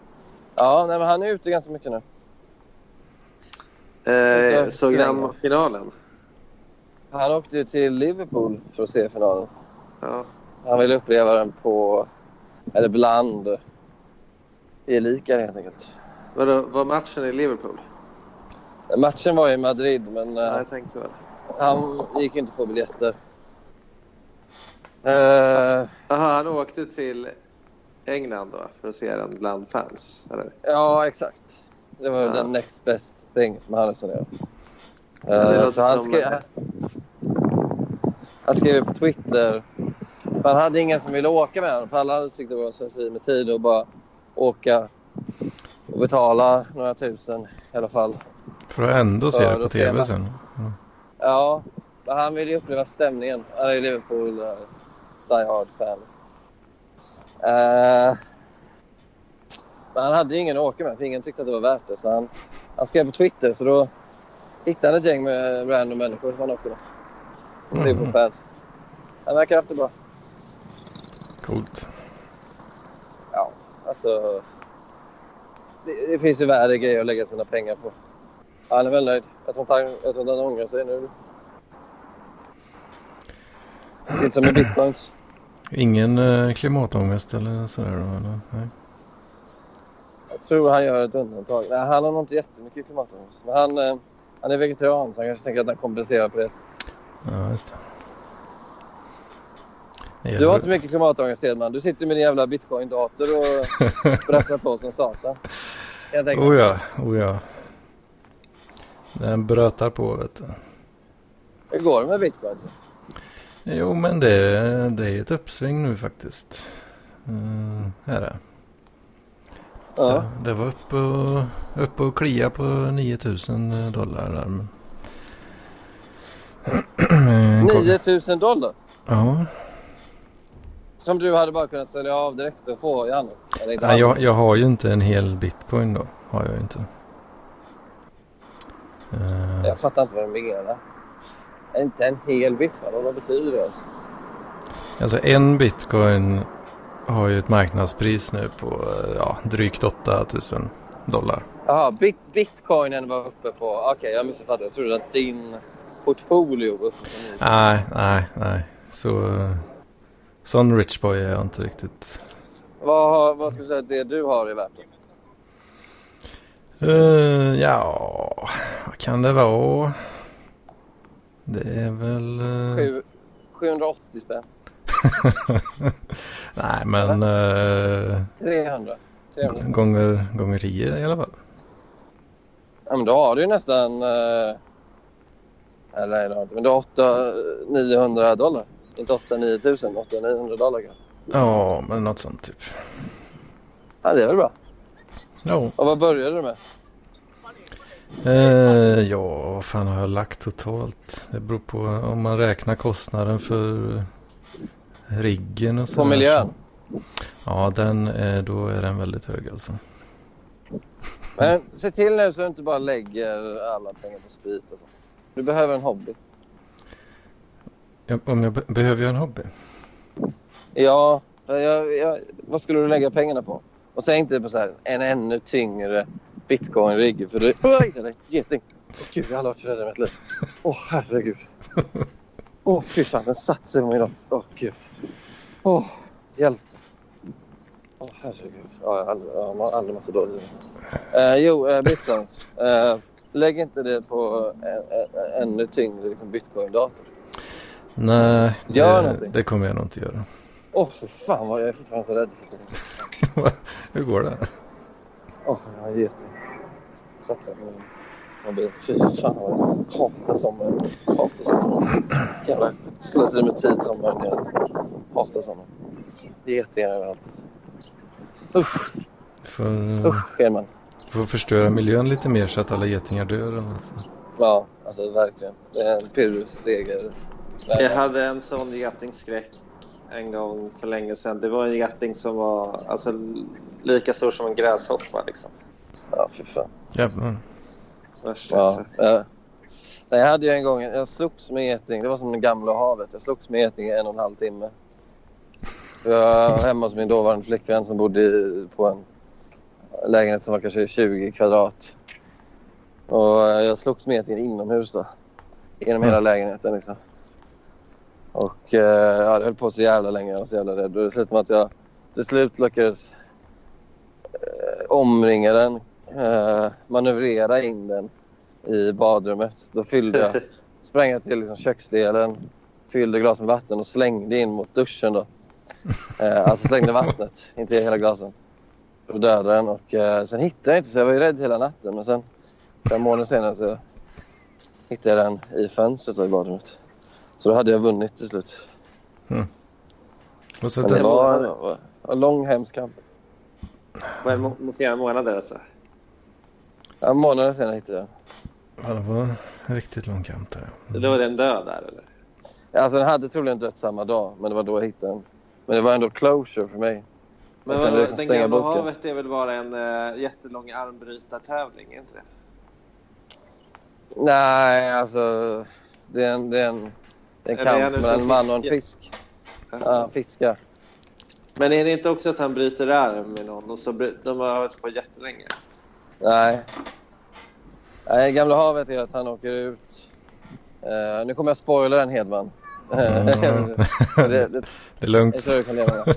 [SPEAKER 4] Ja, nej, men han är ute ganska mycket nu.
[SPEAKER 7] Eh,
[SPEAKER 4] Jag
[SPEAKER 7] såg
[SPEAKER 4] slänger.
[SPEAKER 7] han finalen?
[SPEAKER 4] Han åkte ju till Liverpool för att se finalen.
[SPEAKER 7] Ja.
[SPEAKER 4] Han ville uppleva den på... Eller bland... Elika helt enkelt.
[SPEAKER 7] Vadå, var matchen i Liverpool?
[SPEAKER 4] Matchen var i Madrid, men... eh,
[SPEAKER 7] Ja, jag tänkte väl.
[SPEAKER 4] Han gick inte på biljetter. Eh,
[SPEAKER 7] Jaha, han åkte till England då för att se den bland fans? Eller?
[SPEAKER 4] ja, exakt. Det var
[SPEAKER 7] Ja.
[SPEAKER 4] den next best thing som han resonerade om. Eh,
[SPEAKER 7] Ah. det låter
[SPEAKER 4] så han,
[SPEAKER 7] som-
[SPEAKER 4] skrev, han skrev på Twitter. Han hade ingen som ville åka med honom. För alla hade tyckt det var slöseri med tid att bara åka och betala några tusen i alla fall.
[SPEAKER 2] För att ändå se
[SPEAKER 4] Ja,
[SPEAKER 2] det på
[SPEAKER 4] då ser
[SPEAKER 2] tv
[SPEAKER 4] man.
[SPEAKER 2] sen. Ja.
[SPEAKER 4] Ja, men han vill ju uppleva stämningen. Han är ju Liverpool eh, die hard-fan. Eh, men han hade ju ingen att åka med, för ingen tyckte att det var värt det. Så han, han skrev på Twitter, så då hittade ett gäng med random människor som han åkte med.
[SPEAKER 2] Mhm.
[SPEAKER 4] Liverpool-fans. Han verkar ha haft det bra.
[SPEAKER 2] Coolt.
[SPEAKER 4] Ja, alltså... Det, det finns ju värre grejer att lägga sina pengar på. Han är väl nöjd. Jag tror inte han, jag tror inte han ångrar sig nu. Det är inte som med bitcoins.
[SPEAKER 2] Ingen eh, klimatångest eller sådär då? Eller? Nej.
[SPEAKER 4] Jag tror han gör ett undantag. Nej, han har nog inte jättemycket klimatångest. Men han, eh, han är vegetarian så han kanske tänker att han kompenserar på det.
[SPEAKER 2] Ja, just det. det.
[SPEAKER 4] Du
[SPEAKER 2] gäller-
[SPEAKER 4] har inte mycket klimatångest Edman. Du sitter med din jävla bitcoin-dator och brassar på som satan. Kan jag tänka mig.
[SPEAKER 2] Oh ja, oh ja. Den brötar på vet du.
[SPEAKER 4] Hur går det med bitcoin?
[SPEAKER 2] Jo men det, det är ett uppsving nu faktiskt. Mm, här är det.
[SPEAKER 4] Ja.
[SPEAKER 2] Det var uppe och, uppe och klia på 9000 dollar där. Men... [CLEARS THROAT] Men kom-
[SPEAKER 4] 9 000 dollar
[SPEAKER 2] Ja,
[SPEAKER 4] som du hade bara kunnat sälja av direkt och få i handen. Eller inte
[SPEAKER 2] Nej,
[SPEAKER 4] handen.
[SPEAKER 2] jag, jag har ju inte en hel bitcoin då. Har jag ju inte. Eh,
[SPEAKER 4] jag fattar inte vad du menar. Inte en hel bitcoin. Vad betyder det ens?
[SPEAKER 2] Alltså en bitcoin har ju ett marknadspris nu på eh, ja, drygt 8000 dollar.
[SPEAKER 4] Jaha, bit, bitcoinen var uppe på... Okej, jag missuppfattade. Jag trodde att din portfolio var uppe på 9 000.
[SPEAKER 2] Nej, nej, nej. Så eh, sån rich boy är jag inte riktigt.
[SPEAKER 4] Vad, har- vad ska du säga att det du har är värt? då?
[SPEAKER 2] Eh, ja, vad kan det vara? Det är väl... eh,
[SPEAKER 4] Sju- 780 spänn.
[SPEAKER 2] nej, men eh,
[SPEAKER 4] 300. 300.
[SPEAKER 2] gånger, gånger 10 i alla fall.
[SPEAKER 4] Ja, men då har du ju nästan... Eh, eller nej, det har du inte. Men du har 8, 900 dollar. Inte 8 9 000, 8 900 dollar kanske.
[SPEAKER 2] Ja, men något sånt typ.
[SPEAKER 4] Ja, det är väl bra.
[SPEAKER 2] Ja,
[SPEAKER 4] Och vad började du med?
[SPEAKER 2] Eh, ja, vad fan har jag lagt totalt? Det beror på om man räknar kostnaden för riggen och så.
[SPEAKER 4] På
[SPEAKER 2] där.
[SPEAKER 4] miljön?
[SPEAKER 2] Ja, den, eh, då är den väldigt hög alltså.
[SPEAKER 4] Men se till nu så du inte bara lägger alla pengar på sprit och sånt. Du behöver en hobby.
[SPEAKER 2] Jag, om jag be- behöver jag en hobby?
[SPEAKER 4] Ja, jag, jag, vad skulle du lägga pengarna på? Och säg inte på så här, en ännu tyngre bitcoin-rigg. För du... Oj, det är en geting! Åh gud, jag har aldrig varit så rädd i mitt liv. Åh herregud. Åh fy fan, den satte sig på mig idag. Åh gud. Åh, hjälp. Åh herregud. Ja, jag har aldrig, jag har aldrig mått så dåligt. Eh, jo, eh, bitcoins. Eh, lägg inte det på en, en, en ännu tyngre liksom, bitcoin-dator.
[SPEAKER 2] Nej, det,
[SPEAKER 4] Gör någonting.
[SPEAKER 2] det kommer jag nog inte göra.
[SPEAKER 4] Åh fy fan, vad jag är fortfarande så rädd för det.
[SPEAKER 2] Hur går det?
[SPEAKER 4] Åh, jag har gett Satsa på min mobil. Fy fan vad jag hatar sommaren. Hatar sommaren. Jävla slöseri med tid sommaren. Jag hatar sommaren. Getingar överallt. alltså. Usch,
[SPEAKER 2] Du får, eh,
[SPEAKER 4] usch Edman.
[SPEAKER 2] du får förstöra miljön lite mer så att alla getingar dör. Eller något.
[SPEAKER 4] Ja, alltså verkligen. Det är en pyrrusseger.
[SPEAKER 7] Jag hade en sån getingskräck en gång för länge sedan. Det var en geting som var alltså, lika stor som en gräshoppa. Liksom.
[SPEAKER 4] Ja, fy fan.
[SPEAKER 2] Jävlar.
[SPEAKER 7] Värsta jag
[SPEAKER 4] Ja.
[SPEAKER 7] sett.
[SPEAKER 4] eh. Nej, jag hade ju en gång, jag slogs med geting. Det var som det gamla havet. Jag slogs med geting i en och en halv timme. Jag var hemma hos min dåvarande flickvän som bodde i- på en lägenhet som var kanske 20 kvadrat. Och eh, jag slogs med getingen inomhus då. Genom hela lägenheten liksom. Och eh, ja, det höll på så jävla länge. Jag var så jävla rädd. Och det slutade med att jag till slut lyckades eh, omringa den. Eh, manövrera in den i badrummet. Då fyllde jag, sprang jag till liksom köksdelen, fyllde glas med vatten och slängde in mot duschen. Då. Eh, alltså slängde vattnet, inte hela glasen. Då dödade den och eh, sen hittade jag inte så jag var ju rädd hela natten. Men sen fem månader senare så hittade jag den i fönstret då i badrummet. Så då hade jag vunnit till slut.
[SPEAKER 2] Och så
[SPEAKER 4] Men det
[SPEAKER 2] den,
[SPEAKER 4] var en, var en lång hemsk kamp.
[SPEAKER 7] Var det må- må- flera månader alltså?
[SPEAKER 4] En månad senare hittade jag den.
[SPEAKER 2] ja, det var en riktigt lång kamp där.
[SPEAKER 7] Då var den död där eller?
[SPEAKER 4] Alltså den hade troligen dött samma dag, men det var då jag hittade den. Men det var ändå closure för mig.
[SPEAKER 7] Men
[SPEAKER 4] Jag kan
[SPEAKER 7] vadå,
[SPEAKER 4] liksom
[SPEAKER 7] den
[SPEAKER 4] stänga
[SPEAKER 7] gamla
[SPEAKER 4] boken.
[SPEAKER 7] havet är väl bara en eh, jättelång armbrytartävling, är inte det?
[SPEAKER 4] Nej, alltså... Det är en, det är en, det är en
[SPEAKER 7] Eller är
[SPEAKER 4] kamp
[SPEAKER 7] han ute
[SPEAKER 4] mellan en
[SPEAKER 7] och
[SPEAKER 4] man och en
[SPEAKER 7] fiskar?
[SPEAKER 4] fisk. Ja, fiska.
[SPEAKER 7] Men är det inte också att han bryter arm med någon och så bry- de har varit på jättelänge?
[SPEAKER 4] Nej. Nej, Gamla havet är att han åker ut. Eh, nu kommer jag spoila en Hedman.
[SPEAKER 2] Mm.
[SPEAKER 4] [LAUGHS] det, det,
[SPEAKER 2] Det är lugnt.
[SPEAKER 4] Jag tror jag kan leva med det.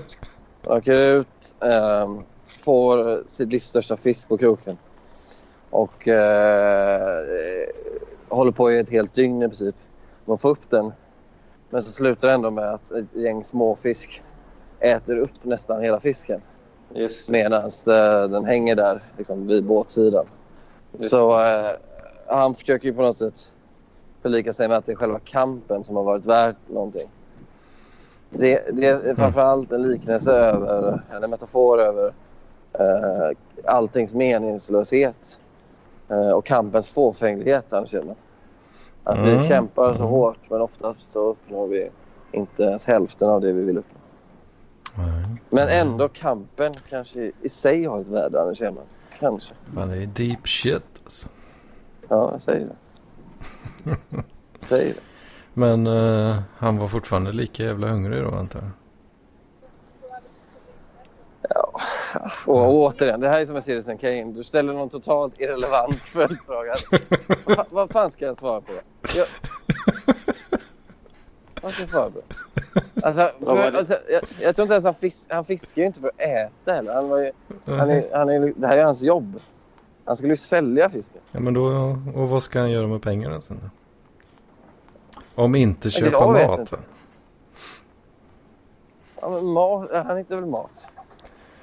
[SPEAKER 4] Han åker ut, ehm, får sitt livs största fisk på kroken och eh, håller på i ett helt dygn i princip. Man får upp den, men så slutar det ändå med att ett gäng småfisk äter upp nästan hela fisken
[SPEAKER 7] Just
[SPEAKER 4] medan eh, den hänger där liksom, vid båtsidan.
[SPEAKER 7] Just
[SPEAKER 4] Så eh, han försöker ju på något sätt förlika sig med att det är själva kampen som har varit värt någonting. Det, det är framförallt en liknelse över, eller en metafor över eh, alltings meningslöshet eh, och kampens fåfänglighet. här känner. Att
[SPEAKER 2] Mm.
[SPEAKER 4] vi kämpar så
[SPEAKER 2] Mm.
[SPEAKER 4] hårt men oftast så uppnår vi inte ens hälften av det vi vill uppnå.
[SPEAKER 2] Nej.
[SPEAKER 4] Men ändå kampen kanske i sig har ett värde, Anders Hedman. Kanske.
[SPEAKER 2] Fan, det är deep shit alltså.
[SPEAKER 4] Ja, jag säger
[SPEAKER 2] [LAUGHS]
[SPEAKER 4] det. Jag säger det.
[SPEAKER 2] Men eh, han var fortfarande lika jävla hungrig då antar jag.
[SPEAKER 4] Och återigen, det här är som en Citizen Kane. Du ställer någon totalt irrelevant [LAUGHS] följdfråga. vad, fa- vad fan ska jag svara på? Jag... Vad ska jag svara på? Alltså,
[SPEAKER 7] Vad var
[SPEAKER 4] för,
[SPEAKER 7] det?
[SPEAKER 4] alltså, jag, jag tror inte ens han, fis- han fiskar ju inte för att äta heller. Han var ju, han är, han är, det här är hans jobb. Han skulle ju sälja fisken.
[SPEAKER 2] Ja, men då, och vad ska han göra med pengarna sen då? Om inte
[SPEAKER 4] Jag
[SPEAKER 2] köpa
[SPEAKER 4] vet
[SPEAKER 2] mat.
[SPEAKER 4] inte.
[SPEAKER 2] va?
[SPEAKER 4] Ja, men mat, han hittar väl mat.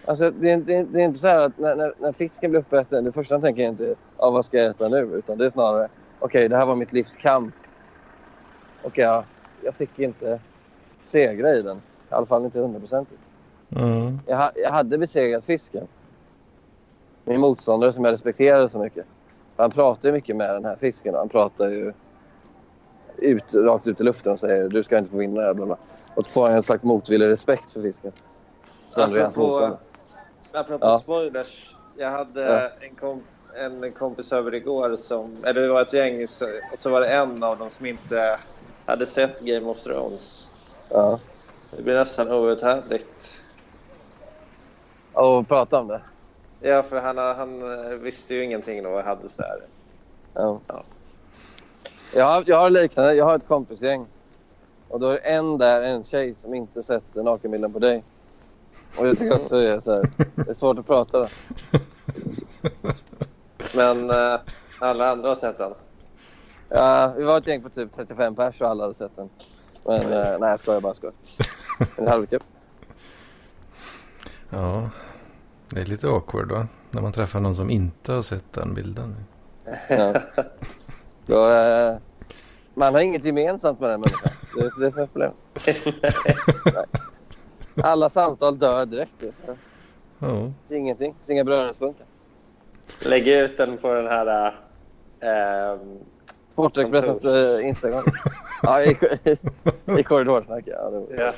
[SPEAKER 4] Alltså, det, är, inte- det, är, det är inte så här att när, när, när fisken blir uppäten, det första han tänker är inte ja, vad ska jag äta nu? Utan det är snarare, okej det här var mitt livs kamp. Och jag, jag fick inte segra i den. I alla fall inte hundraprocentigt.
[SPEAKER 2] Mm.
[SPEAKER 4] Jag, ha- jag hade besegrat fisken. Min motståndare som jag respekterade så mycket. Han pratar ju mycket med den här fisken. Han pratar ju ut, rakt ut i luften och säger du ska inte få vinna det här. Bla bla. Och så får han en slags motvillig respekt för fisken. Så ändå är han
[SPEAKER 7] Apropå,
[SPEAKER 4] motståndare.
[SPEAKER 7] apropå
[SPEAKER 4] Ja.
[SPEAKER 7] spoilers. Jag hade
[SPEAKER 4] Ja.
[SPEAKER 7] en, kom, en kompis över igår som... Eller det var ett gäng så, och så var det en av dem som inte hade sett Game of Thrones.
[SPEAKER 4] Ja.
[SPEAKER 7] Det blir nästan outhärdligt.
[SPEAKER 4] Och prata om det.
[SPEAKER 7] Ja, för han, han eh, visste ju ingenting då och hade så här...
[SPEAKER 4] Ja.
[SPEAKER 7] Ja.
[SPEAKER 4] Jag, har, jag har liknande. Jag har ett kompisgäng. Och då är det en där, en tjej som inte sett nakenbilden på dig. Och jag tycker också det är, så här, det är svårt att prata. Då.
[SPEAKER 7] Men eh, alla andra har sett den.
[SPEAKER 4] Ja, vi var ett gäng på typ 35 pers och alla hade sett den. Men eh, nej, jag skojar bara. Skojar. En halvcup.
[SPEAKER 2] Ja, det är lite awkward va? När man träffar någon som inte har sett den bilden.
[SPEAKER 4] Ja. [LAUGHS] Då, eh, man har inget gemensamt med den människan. Det är det som är [LAUGHS] problemet. Nej. Alla samtal dör direkt. Det
[SPEAKER 2] Ja,
[SPEAKER 4] finns ingenting. Det finns inga beröringspunkter.
[SPEAKER 7] Lägg ut den på den här... eh, ehm,
[SPEAKER 4] Sportexpressens eh, Instagram. Ja, i, i, i korridorsnack. Ja, det,
[SPEAKER 7] ja.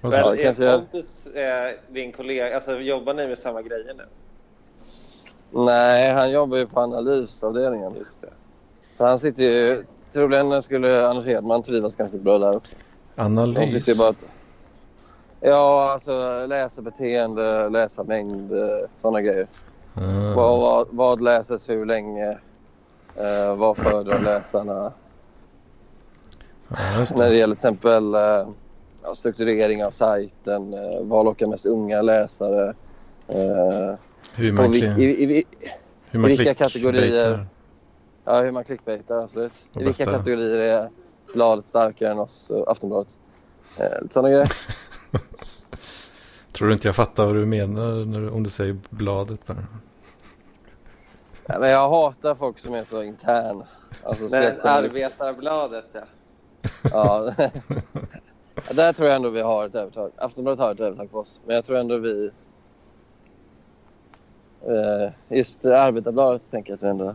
[SPEAKER 2] vad sa
[SPEAKER 4] Ja, det
[SPEAKER 7] Men
[SPEAKER 2] du?
[SPEAKER 7] er
[SPEAKER 4] kanske jag-
[SPEAKER 7] kompis, eh, din kollega, alltså jobbar ni med samma grejer nu?
[SPEAKER 4] nej, han jobbar ju på analysavdelningen.
[SPEAKER 7] Just det.
[SPEAKER 4] Så han sitter ju... Troligen skulle Anders Hedman trivas ganska bra där också. De sitter ju
[SPEAKER 2] Analys.
[SPEAKER 4] bara att... Ja, alltså läsarbeteende, läsarmängd, sådana eh, grejer. Vad,
[SPEAKER 2] Ah,
[SPEAKER 4] vad, vad läses hur länge? Eh, vad föredrar läsarna?
[SPEAKER 2] ja, just
[SPEAKER 4] När
[SPEAKER 2] det.
[SPEAKER 4] det gäller till exempel eh, ja, strukturering av sajten, eh, vad lockar mest unga läsare? Eh,
[SPEAKER 2] Hur
[SPEAKER 4] på
[SPEAKER 2] man,
[SPEAKER 4] vil-
[SPEAKER 2] kli-
[SPEAKER 4] i, i, i,
[SPEAKER 2] hur man
[SPEAKER 4] vilka
[SPEAKER 2] klick-
[SPEAKER 4] kategorier?
[SPEAKER 2] baitar.
[SPEAKER 4] ja, hur man clickbaitar, absolut.
[SPEAKER 2] Och
[SPEAKER 4] I vilka
[SPEAKER 2] bästa-
[SPEAKER 4] kategorier är bladet starkare än oss och Aftonbladet? Eh, lite
[SPEAKER 2] [LAUGHS]
[SPEAKER 4] sådana grejer.
[SPEAKER 2] Tror du inte jag fattar vad du menar när, du- om du säger bladet? Bara?
[SPEAKER 4] Nej, men jag hatar folk som är så interna. Alltså,
[SPEAKER 7] Men
[SPEAKER 4] spetkommunister.
[SPEAKER 7] Arbetarbladet ja.
[SPEAKER 4] Ja. Där tror jag ändå vi har ett övertag. Aftonbladet har ett övertag på oss. Men jag tror ändå vi... Eh, Just eh, Arbetarbladet tänker jag att vi ändå...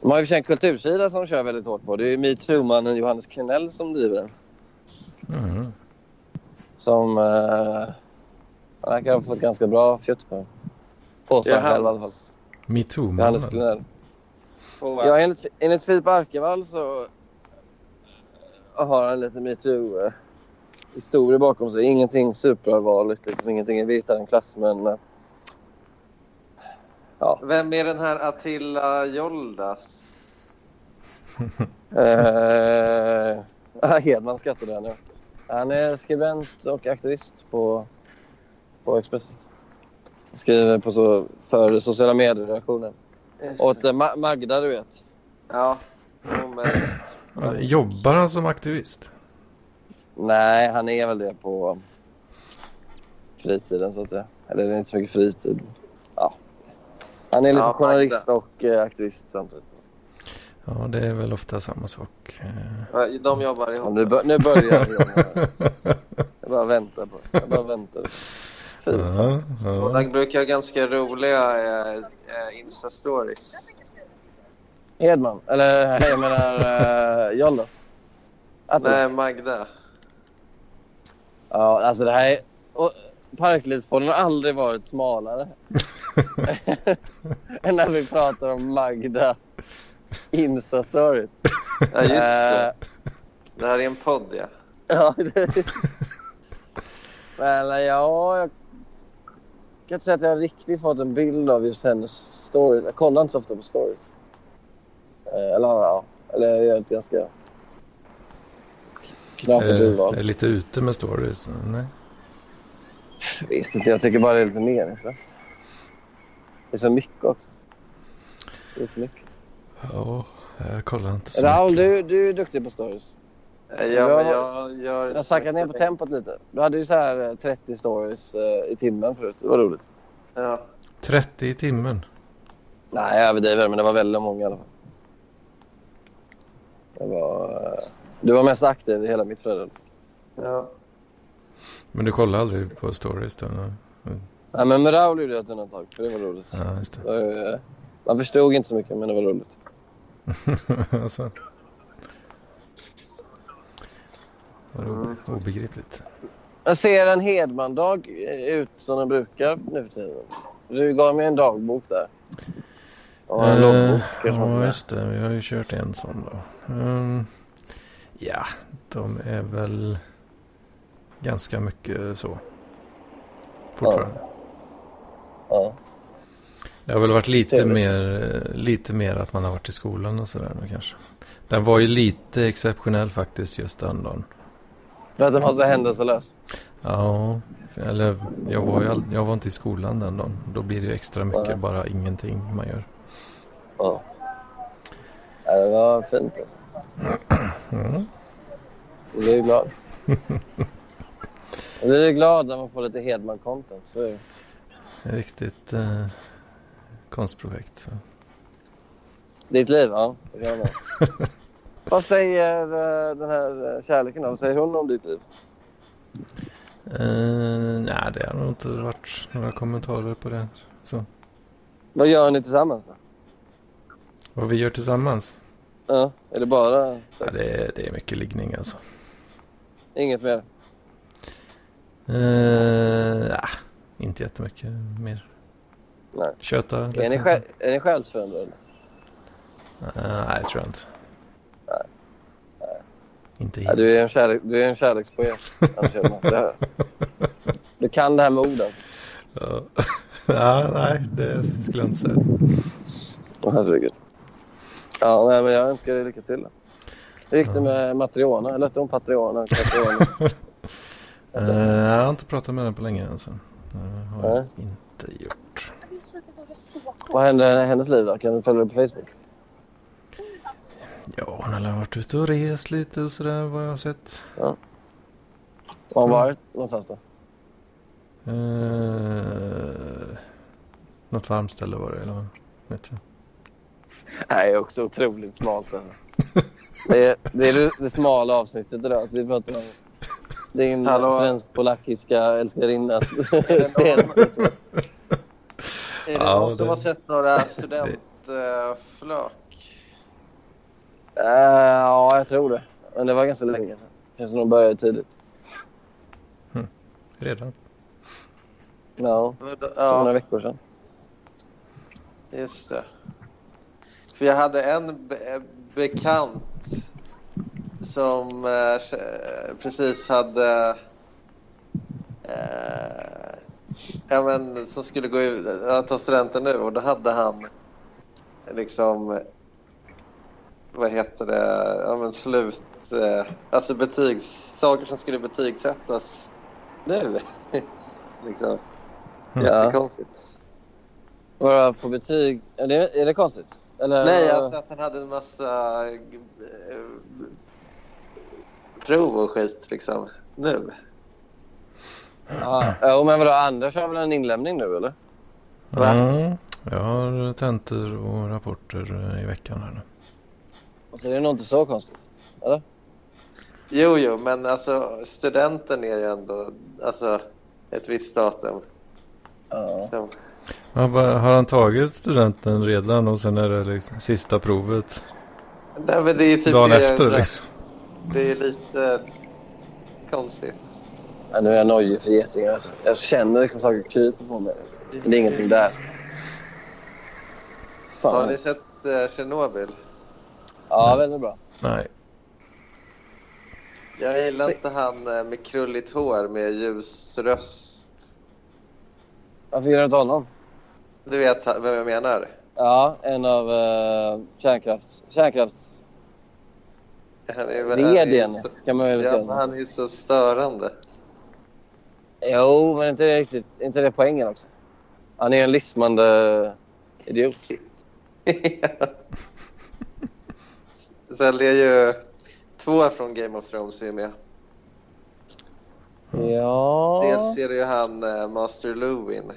[SPEAKER 4] De har ju för sig en kultursida som de kör väldigt hårt på. Det är ju metoo-mannen Johannes Krenell som driver den.
[SPEAKER 2] Mm.
[SPEAKER 4] Som... Eh, han verkar ha fått ganska bra fjutt på den. Påstår han själv i alla fall.
[SPEAKER 2] Metoo-mannen.
[SPEAKER 4] Johannes Krenell.
[SPEAKER 7] tvåa.
[SPEAKER 4] Ja, enligt, enligt Filip Arkevall så eh, har han lite metoo-historia bakom sig. Ingenting superallvarligt, liksom. ingenting är vitare än klass, men... eh, [LAUGHS]
[SPEAKER 7] Vem är den här Attila Joldas?
[SPEAKER 4] Eh, Hedman skrattade han, ja. Han är skribent och aktivist på, på Expressen. Skriver på så, för sociala medier-reaktionen. Åt eh, Ma- Magda, du vet.
[SPEAKER 7] Ja. jo, men-
[SPEAKER 2] Ja, Jobbar han som aktivist?
[SPEAKER 4] Nej, han är väl det på fritiden, så att säga. Eller det är inte så mycket fritid. Ja. Han är liksom
[SPEAKER 7] Ja, Magda.
[SPEAKER 4] journalist och eh, aktivist samtidigt.
[SPEAKER 2] Ja, det är väl ofta samma sak. eh.
[SPEAKER 7] Ja, De jobbar
[SPEAKER 4] Ja,
[SPEAKER 7] ihop.
[SPEAKER 4] nu, bör, nu börjar
[SPEAKER 7] [LAUGHS]
[SPEAKER 4] jag. Jag bara väntar på Jag bara väntar. Fy fan.
[SPEAKER 2] Ja, ja.
[SPEAKER 7] Båda brukar ha ganska roliga eh, eh, Insta-stories.
[SPEAKER 4] Hedman. Eller jag menar uh, Jollas.
[SPEAKER 7] Nej, Magda.
[SPEAKER 4] Ja, alltså det här är... och Parklivspodden har aldrig varit smalare. än när vi pratar om Magda Insta-story.
[SPEAKER 7] Ja, just det.
[SPEAKER 4] Eh,
[SPEAKER 7] Det här är en podd, ja.
[SPEAKER 4] Ja, det... Men eh, ja, jag kan inte säga att jag riktigt fått en bild av just hennes story. Jag kollar inte så ofta på stories. Eh, Eller ja, eller jag gör ett ganska
[SPEAKER 2] Är,
[SPEAKER 4] knapert urval.
[SPEAKER 2] är lite ute med stories? Nej.
[SPEAKER 4] Jag vet inte, jag tycker bara det är lite meningslöst. Det är så mycket också. Det är för mycket.
[SPEAKER 2] Ja, jag kollar inte så
[SPEAKER 4] Raoul,
[SPEAKER 2] mycket.
[SPEAKER 4] du, du är duktig på stories.
[SPEAKER 7] Eh, Ja,
[SPEAKER 4] Jag-
[SPEAKER 7] men jag gör...
[SPEAKER 4] Jag har sackat ner på tempot lite. Du hade ju så här eh, 30 stories eh, i timmen förut. Det var roligt.
[SPEAKER 7] Ja.
[SPEAKER 2] 30 i timmen.
[SPEAKER 4] Nej, jag överdriver, men det var väldigt många i alla fall. Det var, eh, du var mest aktiv i hela mitt flöde.
[SPEAKER 7] Ja.
[SPEAKER 2] Men du kollar aldrig på stories då? Nej,
[SPEAKER 4] Nej, men med Raoul gjorde jag ett undantag, för det var roligt.
[SPEAKER 2] ja, just
[SPEAKER 4] Det var ju, eh, Man förstod inte så mycket, men det var roligt.
[SPEAKER 2] det. [LAUGHS] alltså. Vad
[SPEAKER 4] Mm.
[SPEAKER 2] o- obegripligt.
[SPEAKER 4] Jag ser en Hedman-dag ut som den brukar nu för tiden. Du gav mig en dagbok där. Och en
[SPEAKER 2] Eh,
[SPEAKER 4] loggbok. eller vad det
[SPEAKER 2] ja,
[SPEAKER 4] är.
[SPEAKER 2] just det. Vi har ju kört en sån då. Ehm, ja, de är väl ganska mycket så. Fortfarande.
[SPEAKER 4] Ja.
[SPEAKER 2] Det har väl varit lite
[SPEAKER 4] Trevligt.
[SPEAKER 2] mer, lite mer att man har varit i skolan och sådär nu kanske. Den var ju lite exceptionell faktiskt just den dagen.
[SPEAKER 4] För att den var så händelselös.
[SPEAKER 2] Ja, eller jag var, ju all, jag var inte i skolan den dagen. Då blir det ju extra mycket
[SPEAKER 4] Ja.
[SPEAKER 2] bara ingenting man gör.
[SPEAKER 4] Ja. Ja, det var fint alltså.
[SPEAKER 2] Mm.
[SPEAKER 4] Jag blir glad. Jag blir glad när man får lite Hedman-content. Så är det.
[SPEAKER 2] Riktigt eh, konstprojekt.
[SPEAKER 4] Ditt liv, ja. Det kan jag med.
[SPEAKER 2] [LAUGHS]
[SPEAKER 4] Vad säger eh, den här eh, kärleken då? Vad säger hon om ditt liv?
[SPEAKER 2] Eh, nej, det har nog inte varit några kommentarer på det. Så.
[SPEAKER 4] Vad gör ni tillsammans då?
[SPEAKER 2] Vad vi gör tillsammans?
[SPEAKER 4] Ja, är det bara
[SPEAKER 2] Ja,
[SPEAKER 4] sex?
[SPEAKER 2] det, är, det är mycket liggning alltså.
[SPEAKER 4] Inget mer?
[SPEAKER 2] Eh, nah, inte jättemycket mer.
[SPEAKER 4] Nej.
[SPEAKER 2] Köta
[SPEAKER 4] Är ni,
[SPEAKER 2] lite.
[SPEAKER 4] själ- är ni själsförändrade?
[SPEAKER 2] Eh, nej, tror jag inte. Inte
[SPEAKER 4] Ja,
[SPEAKER 2] helt.
[SPEAKER 4] du, är en kärlek- du är en kärlekspoet, Anders Hedman. Det- Du kan det här med orden.
[SPEAKER 2] Ja. [LAUGHS] ja, nej, det skulle jag inte säga.
[SPEAKER 4] Åh herregud. Ja, nej, men jag önskar dig lycka till. då. Hur gick det med Matriona? Eller hette hon Patriona? Catriona?
[SPEAKER 2] Eh, jag har inte pratat med den på länge alltså. Det har jag
[SPEAKER 4] Nej.
[SPEAKER 2] inte gjort.
[SPEAKER 4] Vad hände i hennes liv då? Kan du följa det på Facebook?
[SPEAKER 2] Ja, hon har väl varit ute och rest lite och sådär vad jag har sett.
[SPEAKER 4] Var hon varit någonstans då?
[SPEAKER 2] Uh, något varmt ställe var det eller vad? Vet jag.
[SPEAKER 4] Nej, också otroligt smalt. Alltså. Det, är, det är det- det smala avsnittet idag. Att vi pratar om din
[SPEAKER 7] Hallå?
[SPEAKER 4] svensk-polackiska älskarinna.
[SPEAKER 7] Är det
[SPEAKER 2] Ja,
[SPEAKER 7] någon som
[SPEAKER 2] det-
[SPEAKER 7] har sett några studentflak?
[SPEAKER 4] Eh, ja, jag tror det. Men det var ganska länge sedan. Känns som de började tidigt.
[SPEAKER 2] Redan?
[SPEAKER 4] Ja, för några
[SPEAKER 7] Ja,
[SPEAKER 4] veckor sedan.
[SPEAKER 7] just det. För jag hade en be- bekant som eh, precis hade... Eh, ja, men, som skulle gå ut, ja, ta studenten nu och då hade han liksom... Vad heter det? Ja, men slut... Eh, alltså betygs, saker som skulle betygsättas nu. [LAUGHS] liksom. Jättekonstigt.
[SPEAKER 4] Vad får betyg? Är det, är det konstigt? Eller,
[SPEAKER 7] Nej, alltså att han hade en massa eh, prov och skit liksom nu.
[SPEAKER 4] Ja, ja, men vadå, Anders har väl en inlämning nu eller?
[SPEAKER 7] Va?
[SPEAKER 2] Mm. Jag har tentor och rapporter eh, i veckan här nu.
[SPEAKER 4] Så Alltså, det är nog inte så konstigt.
[SPEAKER 7] Jo, jo, men alltså studenten är ju ändå alltså, ett visst datum. Liksom.
[SPEAKER 4] Ja.
[SPEAKER 7] Som,
[SPEAKER 2] Ja, va- Har han tagit studenten redan och sen är det liksom sista provet
[SPEAKER 7] nej, men det är typ
[SPEAKER 2] dagen
[SPEAKER 7] det jag
[SPEAKER 2] efter?
[SPEAKER 7] undrar.
[SPEAKER 2] Liksom.
[SPEAKER 7] Det är lite konstigt.
[SPEAKER 4] Ja, nu är jag nojig för getingar. Alltså. Jag känner liksom saker krypa på mig. Men det är ingenting där.
[SPEAKER 7] Har
[SPEAKER 4] Fan.
[SPEAKER 7] ni sett eh, Tjernobyl?
[SPEAKER 4] Ja, väldigt bra.
[SPEAKER 2] Nej.
[SPEAKER 7] Jag gillar inte han eh, med krulligt hår med ljus röst.
[SPEAKER 4] Varför gillar du inte honom?
[SPEAKER 7] Du vet ha- vem jag menar?
[SPEAKER 4] Ja, en av uh, kärnkraft... Kärnkrafts...
[SPEAKER 7] Han är, han är, ju
[SPEAKER 4] VDn
[SPEAKER 7] så,
[SPEAKER 4] kan man väl
[SPEAKER 7] ja, men
[SPEAKER 4] säga.
[SPEAKER 7] han är ju så störande.
[SPEAKER 4] Jo, men inte det riktigt. Inte det poängen också. Han är en lismande idiot.
[SPEAKER 7] [LAUGHS] Sen det är ju två från Game of Thrones är ju med.
[SPEAKER 4] Ja...
[SPEAKER 7] Dels är det ju han eh, Master Lewin.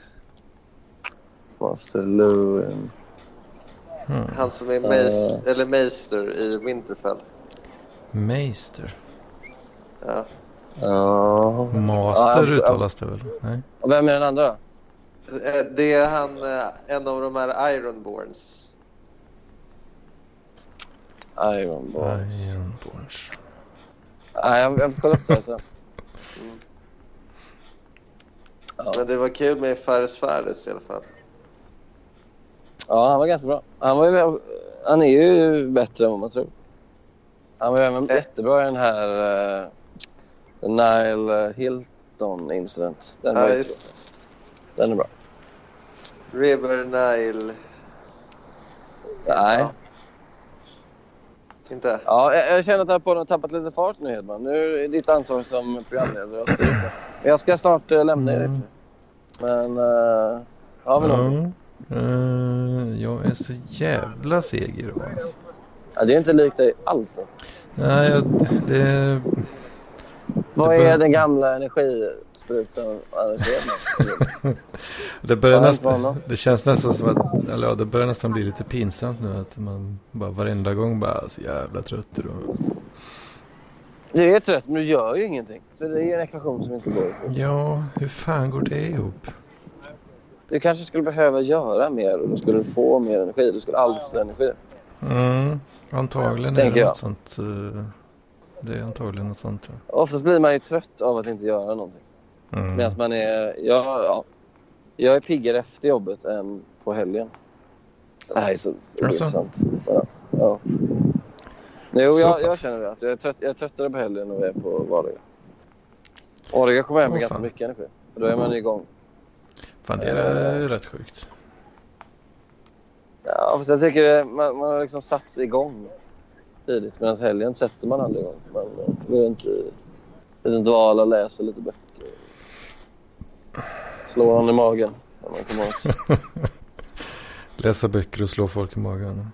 [SPEAKER 4] Master Lewin.
[SPEAKER 2] Mm.
[SPEAKER 7] Han som är meis-
[SPEAKER 4] Eh.
[SPEAKER 7] eller Meister i Winterfell.
[SPEAKER 2] Meister.
[SPEAKER 4] Ja.
[SPEAKER 7] Ja.
[SPEAKER 4] Ja,
[SPEAKER 2] Master
[SPEAKER 4] ja.
[SPEAKER 2] uttalas det väl? Nej.
[SPEAKER 4] Och vem är den andra då?
[SPEAKER 7] Eh, Det är han, eh, en av de här Ironborns.
[SPEAKER 4] Iron Boy.
[SPEAKER 2] Ironborns.
[SPEAKER 4] Nej, jag, jag får kolla upp det här sen.
[SPEAKER 7] Men det var kul med Fares Fares i alla fall.
[SPEAKER 4] Ja, han var ganska bra. Han, var ju, han är ju bättre än vad man tror. Han var ju även jättebra i den här eh, The Nile Hilton incident. Den, var
[SPEAKER 7] Ja,
[SPEAKER 4] ju-
[SPEAKER 7] just
[SPEAKER 4] den är bra.
[SPEAKER 7] River Nile.
[SPEAKER 4] Nej.
[SPEAKER 7] Inte?
[SPEAKER 4] Ja, jag, jag känner att den här podden har tappat lite fart nu, Hedman. Nu är ditt ansvar som programledare och styrelse. Men jag ska snart eh, lämna er. i och för sig. Men... eh, har vi någonting?
[SPEAKER 2] Mm. Ja. Eh, jag är så jävla seg idag. Alltså.
[SPEAKER 4] Ja, det är inte likt dig alls.
[SPEAKER 2] Nej, jag, det...
[SPEAKER 4] Vad
[SPEAKER 2] Det bör-
[SPEAKER 4] är den gamla energisprutan Anders Hedman?
[SPEAKER 2] Det, börjar
[SPEAKER 4] Ja,
[SPEAKER 2] nästan,
[SPEAKER 4] banan.
[SPEAKER 2] det känns nästan som att, eller ja, det börjar nästan bli lite pinsamt nu att man bara varenda gång bara så jävla trött idag.
[SPEAKER 4] Du är trött, men du gör ju ingenting. Så det är en ekvation som inte går ihop.
[SPEAKER 2] Ja, hur fan går det ihop?
[SPEAKER 4] Du kanske skulle behöva göra mer och då skulle du få mer energi. Du skulle alstra energi.
[SPEAKER 2] Mm, antagligen är
[SPEAKER 4] Tänker
[SPEAKER 2] det
[SPEAKER 4] jag.
[SPEAKER 2] något sånt. eh, Det är antagligen något sånt. tror
[SPEAKER 4] Oftast blir man ju trött av att inte göra någonting.
[SPEAKER 2] jag.
[SPEAKER 4] Medan man är... Ja, ja. Jag är piggare efter jobbet än på helgen. Det här är så så
[SPEAKER 2] Alltså?
[SPEAKER 4] intressant. Ja. ja. Jo,
[SPEAKER 2] Så
[SPEAKER 4] jag,
[SPEAKER 2] pass.
[SPEAKER 4] jag känner det. Att jag, är trött, jag är tröttare på helgen än jag är på vardagar. Vardagar kommer jag hem med
[SPEAKER 2] Åh,
[SPEAKER 4] ganska
[SPEAKER 2] fan. Mm.
[SPEAKER 4] mycket energi. För Då är man igång.
[SPEAKER 2] Fan, det är rätt sjukt.
[SPEAKER 4] Ja, fast jag tycker det, man, man har liksom satts igång tidigt. Medan helgen sätter man aldrig igång. Man eh, går runt i en liten dvala, läser lite böcker. Slår honom i magen när man kommer åt.
[SPEAKER 2] Läsa böcker och slå folk i magen.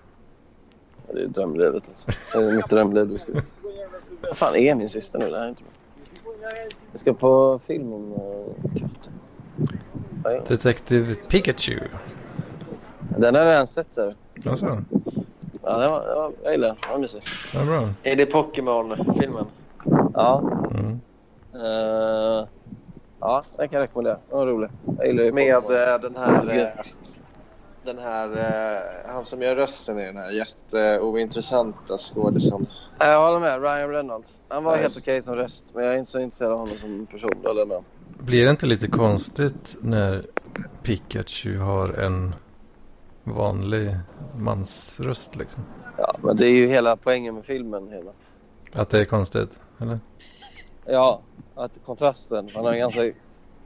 [SPEAKER 4] Ja, Det är drömlivet. Alltså. Det är mitt drömliv. Du ska... Vad fan är min syster nu? Det här är inte bra. Vi ska på film om eh, katter. Vad är det?
[SPEAKER 2] Detektiv Pikachu.
[SPEAKER 4] Den har jag redan sett. Ser du.
[SPEAKER 2] Alltså,
[SPEAKER 4] Ja, den var, den var, jag gillar den. Den var mysig.
[SPEAKER 2] det är bra.
[SPEAKER 7] Är det Pokémon-filmen?
[SPEAKER 4] Ja,
[SPEAKER 2] Mm.
[SPEAKER 4] Eh, ja, den kan jag rekommendera. Den var rolig. Jag gillar ju
[SPEAKER 7] Med
[SPEAKER 4] Pokémon.
[SPEAKER 7] eh, den här... eh, Den här... eh, Han som gör rösten i den här jätteointressanta skådisen.
[SPEAKER 4] Ja, Jag håller med. Ryan Reynolds. Han var
[SPEAKER 7] Ja,
[SPEAKER 4] helt
[SPEAKER 7] just.
[SPEAKER 4] okej som röst, men jag är inte så intresserad av honom som person. Då, eller med.
[SPEAKER 2] Blir det inte lite konstigt när Pikachu har en vanlig mansröst liksom.
[SPEAKER 4] Ja, men det är ju hela poängen med filmen. Hela.
[SPEAKER 2] Att det är konstigt, eller?
[SPEAKER 4] Ja, att kontrasten. Han har en ganska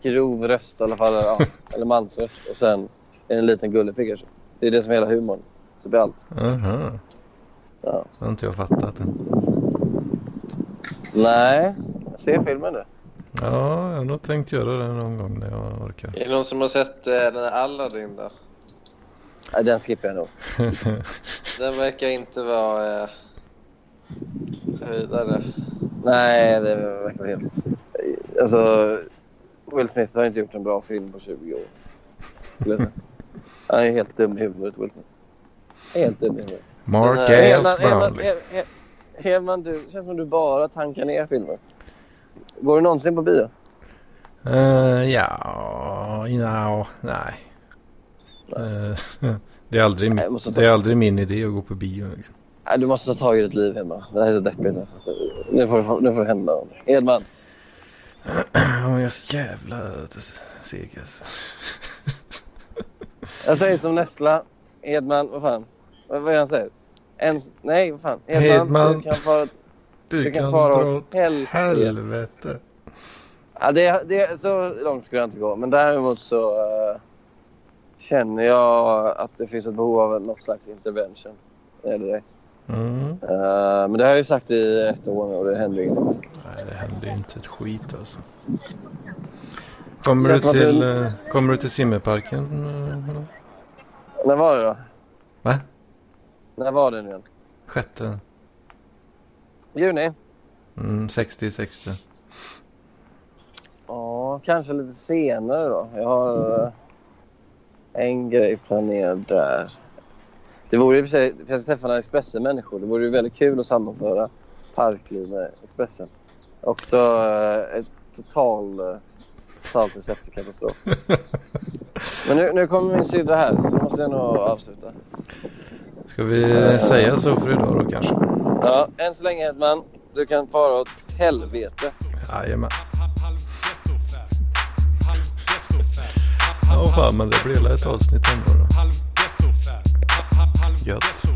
[SPEAKER 4] grov röst i alla fall. Ja, eller mansröst. Och sen en liten gullepigg kanske. Det är det som är hela humorn. Typ i allt.
[SPEAKER 2] Aha.
[SPEAKER 4] Ja.
[SPEAKER 2] Det har inte jag fattat än.
[SPEAKER 4] Nej, jag ser filmen nu.
[SPEAKER 2] Ja, jag har nog tänkt göra det någon gång när jag orkar.
[SPEAKER 7] Är det någon som har sett eh, den här Aladdin då?
[SPEAKER 4] Nej, den skippar jag nog.
[SPEAKER 2] [LAUGHS]
[SPEAKER 7] Den verkar inte vara eh, höjdare.
[SPEAKER 4] Nej, det verkar helt... Alltså, Will Smith har inte gjort en bra film på 20 år. skulle jag säga. Han är helt dum i huvudet, Will Smith. Helt dum i huvudet.
[SPEAKER 7] Den
[SPEAKER 2] Mark
[SPEAKER 7] här-
[SPEAKER 2] Ailes
[SPEAKER 4] Hedman- Hedman-
[SPEAKER 2] behandling.
[SPEAKER 4] Hed- Hed- Hedman, du det känns som du bara tankar ner filmer. Går du någonsin på bio?
[SPEAKER 2] Eh, Ja, nja, nej. Eh, [LAUGHS] Det är, aldrig
[SPEAKER 4] Nej, jag måste
[SPEAKER 2] mitt,
[SPEAKER 4] ta-
[SPEAKER 2] det är aldrig min idé att gå på bio. Liksom. [CLEARS THROAT]
[SPEAKER 4] Nej, du måste ta tag i ditt liv, Hedman. Det här är så deppigt. Alltså. Nu, får, nu får det hända någonting. Hedman,
[SPEAKER 2] Ja, men jag är så jävla seg alltså.
[SPEAKER 4] jag säger som Nessla. Hedman, vad fan? Vad, vad är det han säger? En, nej, vad fan? Hedman,
[SPEAKER 2] Hedman.
[SPEAKER 4] du kan få
[SPEAKER 2] [LAUGHS] Du,
[SPEAKER 4] Du kan
[SPEAKER 2] kan
[SPEAKER 4] fara
[SPEAKER 2] dra
[SPEAKER 4] åt
[SPEAKER 2] åt
[SPEAKER 4] helvete.
[SPEAKER 2] helvete.
[SPEAKER 4] Ja, det, det, så långt skulle jag inte gå. Men däremot så eh, känner jag att det finns ett behov av något slags intervention. Det är det.
[SPEAKER 2] Mm.
[SPEAKER 4] Eh, men det har jag ju sagt i ett år nu och det händer ju ingenting.
[SPEAKER 2] Nej, det händer ju inte ett skit alltså. Kommer du
[SPEAKER 4] Känns som att
[SPEAKER 2] till,
[SPEAKER 4] du-
[SPEAKER 2] eh, kommer du till simmerparken? eh, eller?
[SPEAKER 4] När var det då?
[SPEAKER 2] Va?
[SPEAKER 4] När var det nu igen?
[SPEAKER 2] Sjätte?
[SPEAKER 4] Juni?
[SPEAKER 2] Mm, 60, 60.
[SPEAKER 4] Ja, kanske lite senare då. Jag har eh, en grej planerad där. Det vore ju i och för sig, för jag träffar några Expressen-människor. Det vore ju väldigt kul att sammanföra parkliv med Expressen. Också eh, ett total, eh, totalt recept för katastrof. Men nu, nu kommer min syrra här, så nu måste jag nog avsluta.
[SPEAKER 2] [LAUGHS] Ska vi eh, säga så för idag då kanske?
[SPEAKER 4] Ja, än så länge Hedman, du kan fara åt helvete.
[SPEAKER 2] Jajamän. Ja, fan, men det blir hela ett avsnitt ändå då. Gött.